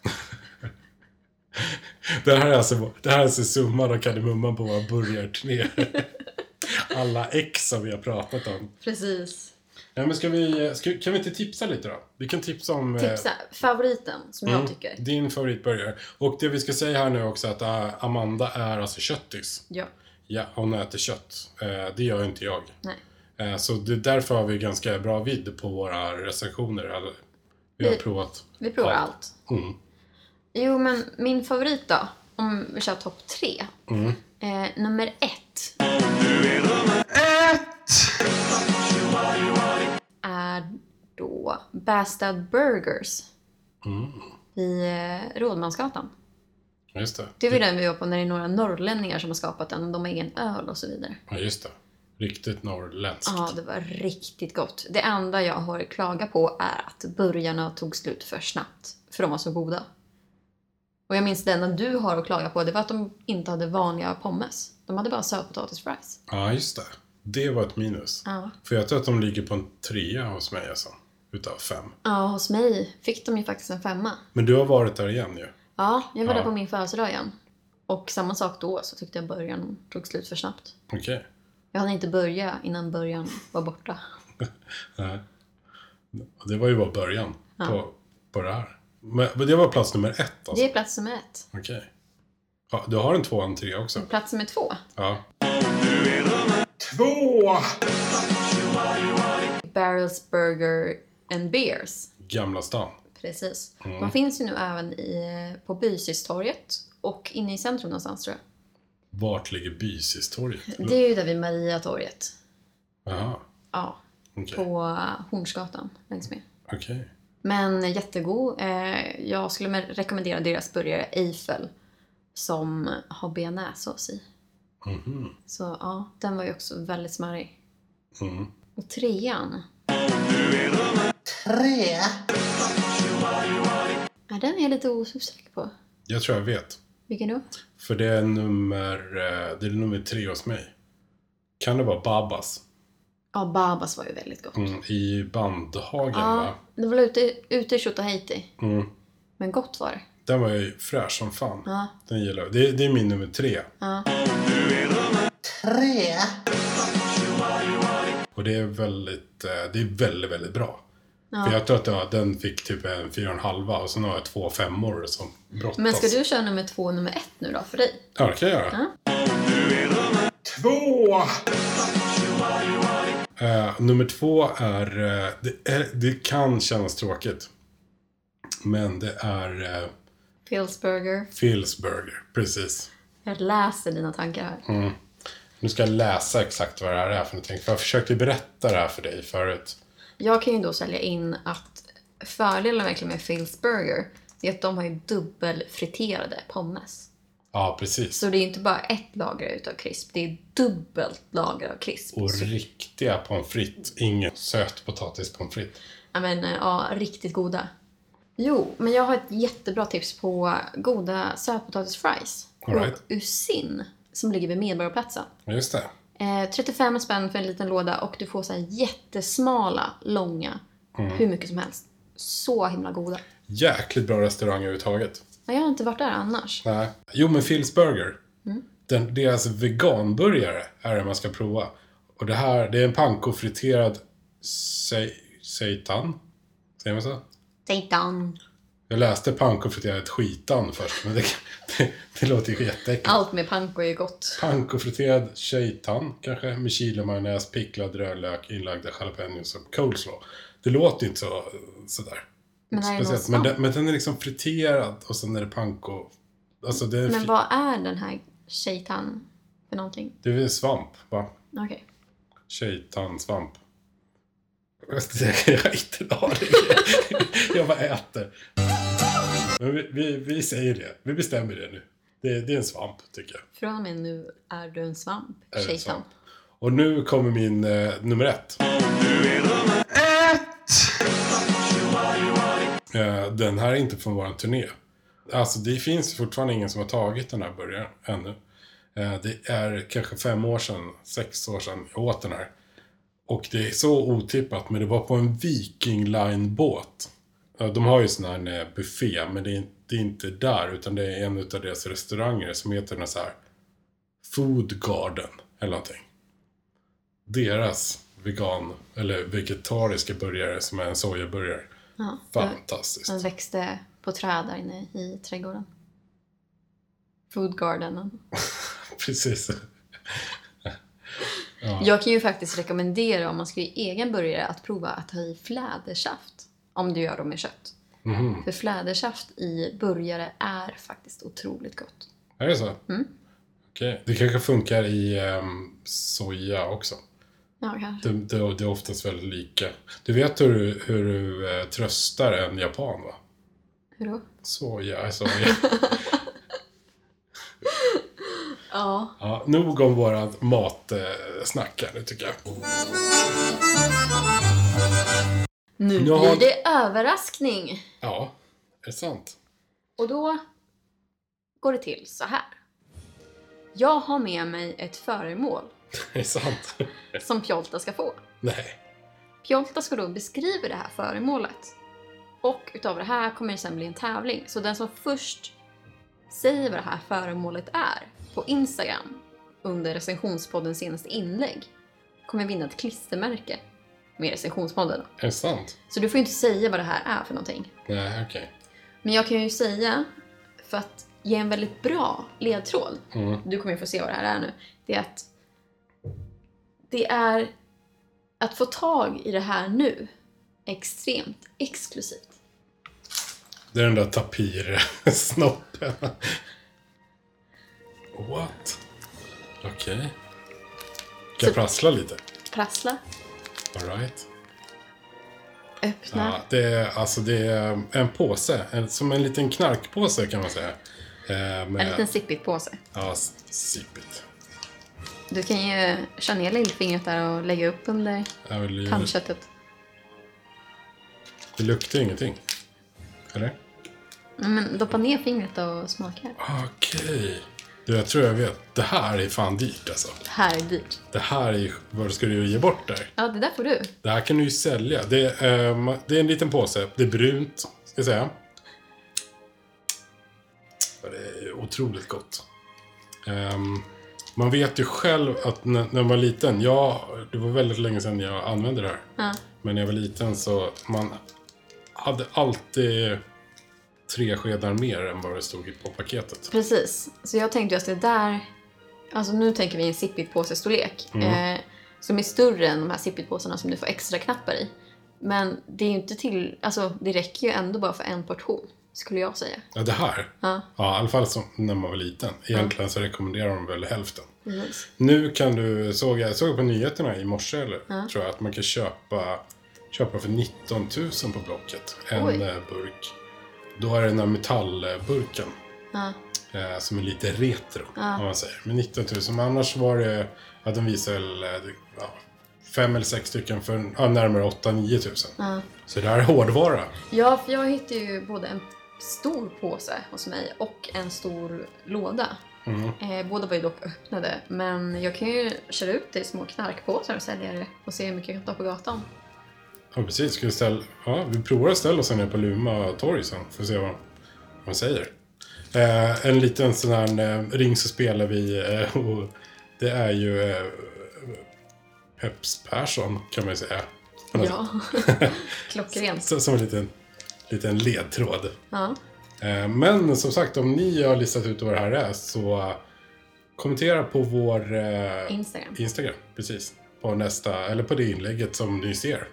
[SPEAKER 1] Det här är alltså, det här är alltså summan och kardemumman på våra burgarturnéer. Alla ex som vi har pratat om.
[SPEAKER 2] Precis.
[SPEAKER 1] Ja, men ska vi, ska, kan vi inte tipsa lite då? Vi kan tipsa om... eh, mm,
[SPEAKER 2] Tipsa. Typ Favoriten som jag tycker.
[SPEAKER 1] Din favoritburgare. Och det vi ska säga här nu också att eh, Amanda är alltså köttis.
[SPEAKER 2] Ja.
[SPEAKER 1] Ja, hon äter kött. Eh, Det gör inte jag.
[SPEAKER 2] Nej.
[SPEAKER 1] Eh, Så det, därför har vi ganska bra vidd på våra recensioner. Eller, vi har
[SPEAKER 2] Vi-
[SPEAKER 1] provat.
[SPEAKER 2] Vi provar
[SPEAKER 1] Ja.
[SPEAKER 2] allt.
[SPEAKER 1] Mm.
[SPEAKER 2] Jo, men min favorit då? Om vi kör topp tre. Eh, nummer ett
[SPEAKER 7] Ett!
[SPEAKER 2] är då Bastad Burgers. I eh, Rådmansgatan.
[SPEAKER 1] Just det.
[SPEAKER 2] Det var ju den vi var på när det är några norrlänningar som har skapat den och de har egen öl och så vidare. Typ.
[SPEAKER 1] Ja, just det. Riktigt norrländskt.
[SPEAKER 2] Ja, det var riktigt gott. Det enda jag har klagat på är att burgarna tog slut för snabbt. För de var så goda. Och jag minns det enda du har att klaga på, det var att de inte hade vanliga pommes. De hade bara sötpotatisfries.
[SPEAKER 1] Ja, just det. Det var ett minus.
[SPEAKER 2] Ja.
[SPEAKER 1] För jag tror att de ligger på en trea hos mig alltså. Utav fem.
[SPEAKER 2] Ja, hos mig fick de ju faktiskt en femma.
[SPEAKER 1] Men du har varit där igen ju.
[SPEAKER 2] Ja, jag var
[SPEAKER 1] Ja.
[SPEAKER 2] där på min födelsedag igen. Och samma sak då, så tyckte jag början tog slut för snabbt.
[SPEAKER 1] Okej.
[SPEAKER 2] Jag hade inte börjat innan början var borta.
[SPEAKER 1] Nej. Och Det var ju bara början på, på det här. Men, men det var plats nummer ett alltså?
[SPEAKER 2] Det är plats nummer ett.
[SPEAKER 1] Okej. Ja, du har en tvåa och en trea också?
[SPEAKER 2] Plats nummer två.
[SPEAKER 1] Ja. Två!
[SPEAKER 2] Barrels Burger and Beers.
[SPEAKER 1] Gamla stan.
[SPEAKER 2] Precis. De finns ju nu även i, eh, på Bysystorget och inne i centrum någonstans tror jag.
[SPEAKER 1] Vart ligger Bysistorget? Mm.
[SPEAKER 2] Det är ju där vid Mariatorget.
[SPEAKER 1] Jaha,
[SPEAKER 2] Ja,
[SPEAKER 1] okej.
[SPEAKER 2] på Hornsgatan längs med.
[SPEAKER 1] Okej.
[SPEAKER 2] Men jättegod. Eh, Jag skulle med- rekommendera deras burgare Eiffel som har bearnaisesås i.
[SPEAKER 1] Mhm.
[SPEAKER 2] Så ja, den var ju också väldigt smarrig.
[SPEAKER 1] Mm.
[SPEAKER 2] Och trean. Tre. Ja, den är jag lite osäker på.
[SPEAKER 1] Jag tror jag vet.
[SPEAKER 2] Vilken då?
[SPEAKER 1] För det är nummer, eh, det är nummer tre hos mig. Kan det vara Babas?
[SPEAKER 2] Ja, Babas var ju väldigt gott.
[SPEAKER 1] Mm, I Bandhagen va?
[SPEAKER 2] Ja, det var ute, ute i Tjotahejti.
[SPEAKER 1] Mm.
[SPEAKER 2] Men gott var det.
[SPEAKER 1] Den var ju fräsch som fan.
[SPEAKER 2] Ja.
[SPEAKER 1] Den gillar jag. Det, det är min nummer tre.
[SPEAKER 2] Ja.
[SPEAKER 1] Och det är väldigt, eh, det är väldigt, väldigt bra.
[SPEAKER 2] Ja.
[SPEAKER 1] För jag tror att jag, den fick typ en fyra och en halva och sen har jag två femmor som brottas.
[SPEAKER 2] Men ska du köra nummer två och nummer ett nu då för dig?
[SPEAKER 1] Ja, det kan jag göra. Två! Eh, nummer två är, eh, det är... Det kan kännas tråkigt. Men det är eh,
[SPEAKER 2] Phil's Burger.
[SPEAKER 1] Phil's Burger. Precis.
[SPEAKER 2] Jag läser dina tankar här.
[SPEAKER 1] Nu ska jag läsa exakt vad det här är för någonting. För jag försökte berätta det här för dig förut.
[SPEAKER 2] Jag kan ju då sälja in att fördelen verkligen med Phil's Burger är att de har ju dubbelfriterade pommes.
[SPEAKER 1] Ja, precis.
[SPEAKER 2] Så det är ju inte bara ett lager utav crisp, det är dubbelt lager av crisp.
[SPEAKER 1] Och
[SPEAKER 2] Så-
[SPEAKER 1] riktiga pommes frites. Ingen sötpotatispommes frites.
[SPEAKER 2] Ja men eh, ja, riktigt goda. Jo, men jag har ett jättebra tips på goda sötpotatisfries.
[SPEAKER 1] All right.
[SPEAKER 2] Och Usin, som ligger vid Medborgarplatsen.
[SPEAKER 1] Just det.
[SPEAKER 2] Eh, 35 spänn för en liten låda och du får så här jättesmala, långa,
[SPEAKER 1] Mm.
[SPEAKER 2] hur mycket som helst. Så himla goda.
[SPEAKER 1] Jäkligt bra restaurang överhuvudtaget.
[SPEAKER 2] Men jag har inte varit där annars.
[SPEAKER 1] Nej. Jo, men Phil's Burger. Den, deras veganburgare är det man ska prova. Och det här, det är en pankofriterad se, seitan. Säger man så?
[SPEAKER 2] Satan.
[SPEAKER 1] Jag läste pankofriterad skitan först, men det, det, det låter ju jätteäckligt.
[SPEAKER 2] Allt med panko är ju gott.
[SPEAKER 1] Pankofriterad seitan kanske, med chili-majonnäs, picklad rödlök, inlagda jalapenos och coleslaw. Det låter inte så, sådär.
[SPEAKER 2] Men här är
[SPEAKER 1] Speciellt,
[SPEAKER 2] någon men,
[SPEAKER 1] men, den, men den är liksom friterad och sen är det panko. Alltså det är,
[SPEAKER 2] men
[SPEAKER 1] men
[SPEAKER 2] vad är den här shaitan för någonting?
[SPEAKER 1] det är väl svamp, va?
[SPEAKER 2] Okej.
[SPEAKER 1] Tjejtandsvamp. Jag har inte en aning. Jag bara äter. Men vi, vi, vi säger det. Vi bestämmer det nu. Det, det är en svamp, tycker jag.
[SPEAKER 2] Från och med nu är du en svamp,
[SPEAKER 1] Är det en
[SPEAKER 2] shaitan.
[SPEAKER 1] svamp? Och nu kommer min eh, nummer ett. Eh, den här är inte från vår turné. Alltså det finns fortfarande ingen som har tagit den här burgaren ännu. Eh, det är kanske fem år sedan, sex år sedan jag åt den här. Och det är så otippat, men det var på en Viking Line-båt. Eh, De har ju sån här eh, buffé, men det är, det är inte där, utan det är en av deras restauranger som heter den så här Food Garden, eller någonting. Deras vegan, eller vegetariska burgare som är en sojaburgare.
[SPEAKER 2] Ja, den-
[SPEAKER 1] Fantastiskt.
[SPEAKER 2] den växte på träd där inne i trädgården. Food gardenen.
[SPEAKER 1] Precis.
[SPEAKER 2] Jag kan ju faktiskt rekommendera om man ska göra egen burgare att prova att ha i flädersaft. Om du gör dem med kött.
[SPEAKER 1] Mhm.
[SPEAKER 2] För flädersaft i burgare är faktiskt otroligt gott.
[SPEAKER 1] Är det så?
[SPEAKER 2] Mm.
[SPEAKER 1] Okej. Det kanske funkar i ehm, soja också.
[SPEAKER 2] Ja, kanske.
[SPEAKER 1] Det, det, det är oftast väldigt lika. Du vet hur, du- hur du eh, tröstar en japan, va?
[SPEAKER 2] Hur då?
[SPEAKER 1] Soja, eh, soja.
[SPEAKER 2] Ja.
[SPEAKER 1] ja, nog om vårat matsnack här nu, tycker jag.
[SPEAKER 2] Nu
[SPEAKER 1] Jag har-
[SPEAKER 2] blir det överraskning!
[SPEAKER 1] Ja, är det sant?
[SPEAKER 2] Och då går det till så här. Jag har med mig ett föremål
[SPEAKER 1] Är det sant?
[SPEAKER 2] som Pjolta ska få.
[SPEAKER 1] Nej.
[SPEAKER 2] Pjolta ska då beskriva det här föremålet. Och utav det här kommer det sen bli en tävling. Så den som först säger vad det här föremålet är på Instagram under recensionspoddens senaste inlägg kommer vinna ett klistermärke med recensionspodden.
[SPEAKER 1] Är det sant?
[SPEAKER 2] Så du får inte säga vad det här är för någonting.
[SPEAKER 1] Nej, okej.
[SPEAKER 2] Men jag kan ju säga, för att ge en väldigt bra ledtråd,
[SPEAKER 1] Mm.
[SPEAKER 2] du kommer ju få se vad det här är nu, det är att det är att få tag i det här nu extremt exklusivt.
[SPEAKER 1] Det är den där tapir-snoppen. What? Okej. Ska jag prassla lite?
[SPEAKER 2] Prassla,
[SPEAKER 1] Alright.
[SPEAKER 2] öppna.
[SPEAKER 1] Ja, det, är, alltså det är en påse. En, som en liten knarkpåse kan man säga. Eh, med,
[SPEAKER 2] En liten sippigt påse.
[SPEAKER 1] Ja, s- sippigt.
[SPEAKER 2] Du kan ju köra ner lillfingret där och lägga upp under
[SPEAKER 1] Jag vill ju,
[SPEAKER 2] tandköttet.
[SPEAKER 1] det luktar ju ingenting. Eller?
[SPEAKER 2] Nej, Men doppa ner fingret och smaka.
[SPEAKER 1] Okej. Du, jag tror jag vet. Det här är fan dyrt alltså.
[SPEAKER 2] Det här är dyrt.
[SPEAKER 1] Det här är ju... Vad ska du ge bort där?
[SPEAKER 2] Ja, det där får du.
[SPEAKER 1] Det här kan du ju sälja. Det, är, ehm, det är en liten påse. Det är brunt, ska jag säga. Det är otroligt gott. Ehm, man vet ju själv att när, när man var liten, ja, det var väldigt länge sedan jag använde det här.
[SPEAKER 2] Ja.
[SPEAKER 1] Men när jag var liten så man hade alltid tre skedar mer än vad det stod i- på paketet.
[SPEAKER 2] Precis. Så jag tänkte just det där... Alltså nu tänker vi en sippigt påsestorlek. Eh, som är större än de här sippigt påsarna som du får extra knappar i. Men det är ju inte till... Alltså det räcker ju ändå bara för en portion. Skulle jag säga.
[SPEAKER 1] Ja, det här.
[SPEAKER 2] Ja,
[SPEAKER 1] Ja, i alla fall som, när man var liten. Egentligen så rekommenderar de väl hälften.
[SPEAKER 2] precis.
[SPEAKER 1] Nu kan du, såg jag såg på nyheterna i morse eller,
[SPEAKER 2] Ja.
[SPEAKER 1] tror jag, att man kan köpa, köpa för 19 000 på Blocket. En
[SPEAKER 2] Oj.
[SPEAKER 1] eh, burk. Då är det den här metallburken
[SPEAKER 2] Ja.
[SPEAKER 1] eh, som är lite retro,
[SPEAKER 2] Ja.
[SPEAKER 1] om man säger. Men 19 000, men annars var det, ja de visar väl, eh, det- ja, fem eller sex stycken för ja, närmare 8 9 000.
[SPEAKER 2] Ja.
[SPEAKER 1] Så det här är hårdvara.
[SPEAKER 2] Ja, för jag hittade ju både en stor påse hos mig och en stor låda.
[SPEAKER 1] Mm.
[SPEAKER 2] Eh, båda var ju dock öppnade, men jag kan ju köra ut det i små knarkpåsar och sälja det och se hur mycket jag kan ta på gatan.
[SPEAKER 1] Ja, precis. Ska vi, ställa... ja, vi provar att ställa oss ner på Luma torg sen. Får se vad man säger. Eh, en liten sån här eh, ring så spelar vi eh, och det är ju eh, Peps Persson kan man ju säga. På något
[SPEAKER 2] Ja, klockrent.
[SPEAKER 1] Så, som en liten, liten ledtråd.
[SPEAKER 2] Ja.
[SPEAKER 1] Eh, Men som sagt, om ni har listat ut vad det här är så eh, kommentera på vår eh,
[SPEAKER 2] Instagram,
[SPEAKER 1] Instagram. Precis. På nästa, eller på det inlägget som ni ser.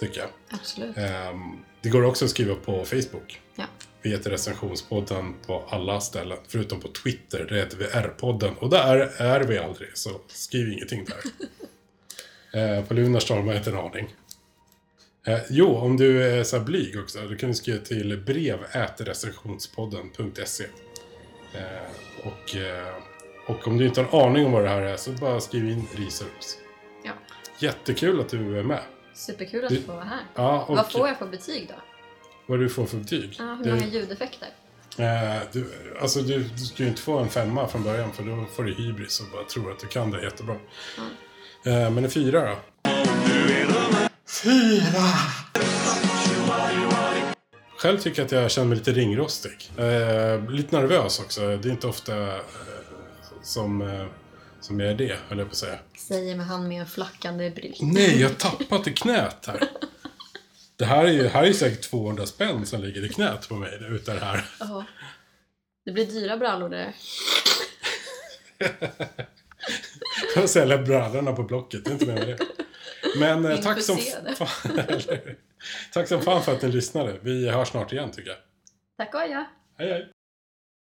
[SPEAKER 1] Tycker jag.
[SPEAKER 2] absolut.
[SPEAKER 1] Ehm, Det går också att skriva på Facebook.
[SPEAKER 2] Ja.
[SPEAKER 1] Vi heter Recensionspodden på alla ställen, förutom på Twitter. Där heter vi R-podden och där är vi aldrig, så skriv ingenting där. Eh, på Lunarstorm har jag inte en aning. Eh, jo, om du är så här blyg också, då kan du skriva till brev.recensionspodden.se eh, och, eh, och om du inte har en aning om vad det här är så bara skriv in research.
[SPEAKER 2] Ja.
[SPEAKER 1] Jättekul att du är med.
[SPEAKER 2] Superkul
[SPEAKER 1] Du-
[SPEAKER 2] att få vara här.
[SPEAKER 1] Ja, och
[SPEAKER 2] Vad får jag för betyg då?
[SPEAKER 1] vad du får för betyg.
[SPEAKER 2] Ja, hur
[SPEAKER 1] Du-
[SPEAKER 2] många ljudeffekter?
[SPEAKER 1] Eh, du, alltså du, du ska ju inte få en femma från början för då får du hybris och bara tror att du kan det jättebra. Eh, men en fyra då? Fyra! Själv tycker jag att jag känner mig lite ringrostig. Eh, lite nervös också. Det är inte ofta eh, som, eh, som jag är det, höll jag på att säga.
[SPEAKER 2] Säger med han med en flackande bril.
[SPEAKER 1] Nej, jag har tappat i knät här. Det här är ju här är ju säkert 200 spänn som ligger i knät på mig utav det här.
[SPEAKER 2] Ja. Det blir dyra brallor det där.
[SPEAKER 1] Jag säljer brallorna på Blocket, det är inte mer med det. Men eh, tack som,
[SPEAKER 2] Intresserade.
[SPEAKER 1] fan, eller hur? tack som fan för att ni lyssnade. Vi hörs snart igen tycker jag.
[SPEAKER 2] Tack och adjö!
[SPEAKER 1] Hej hej!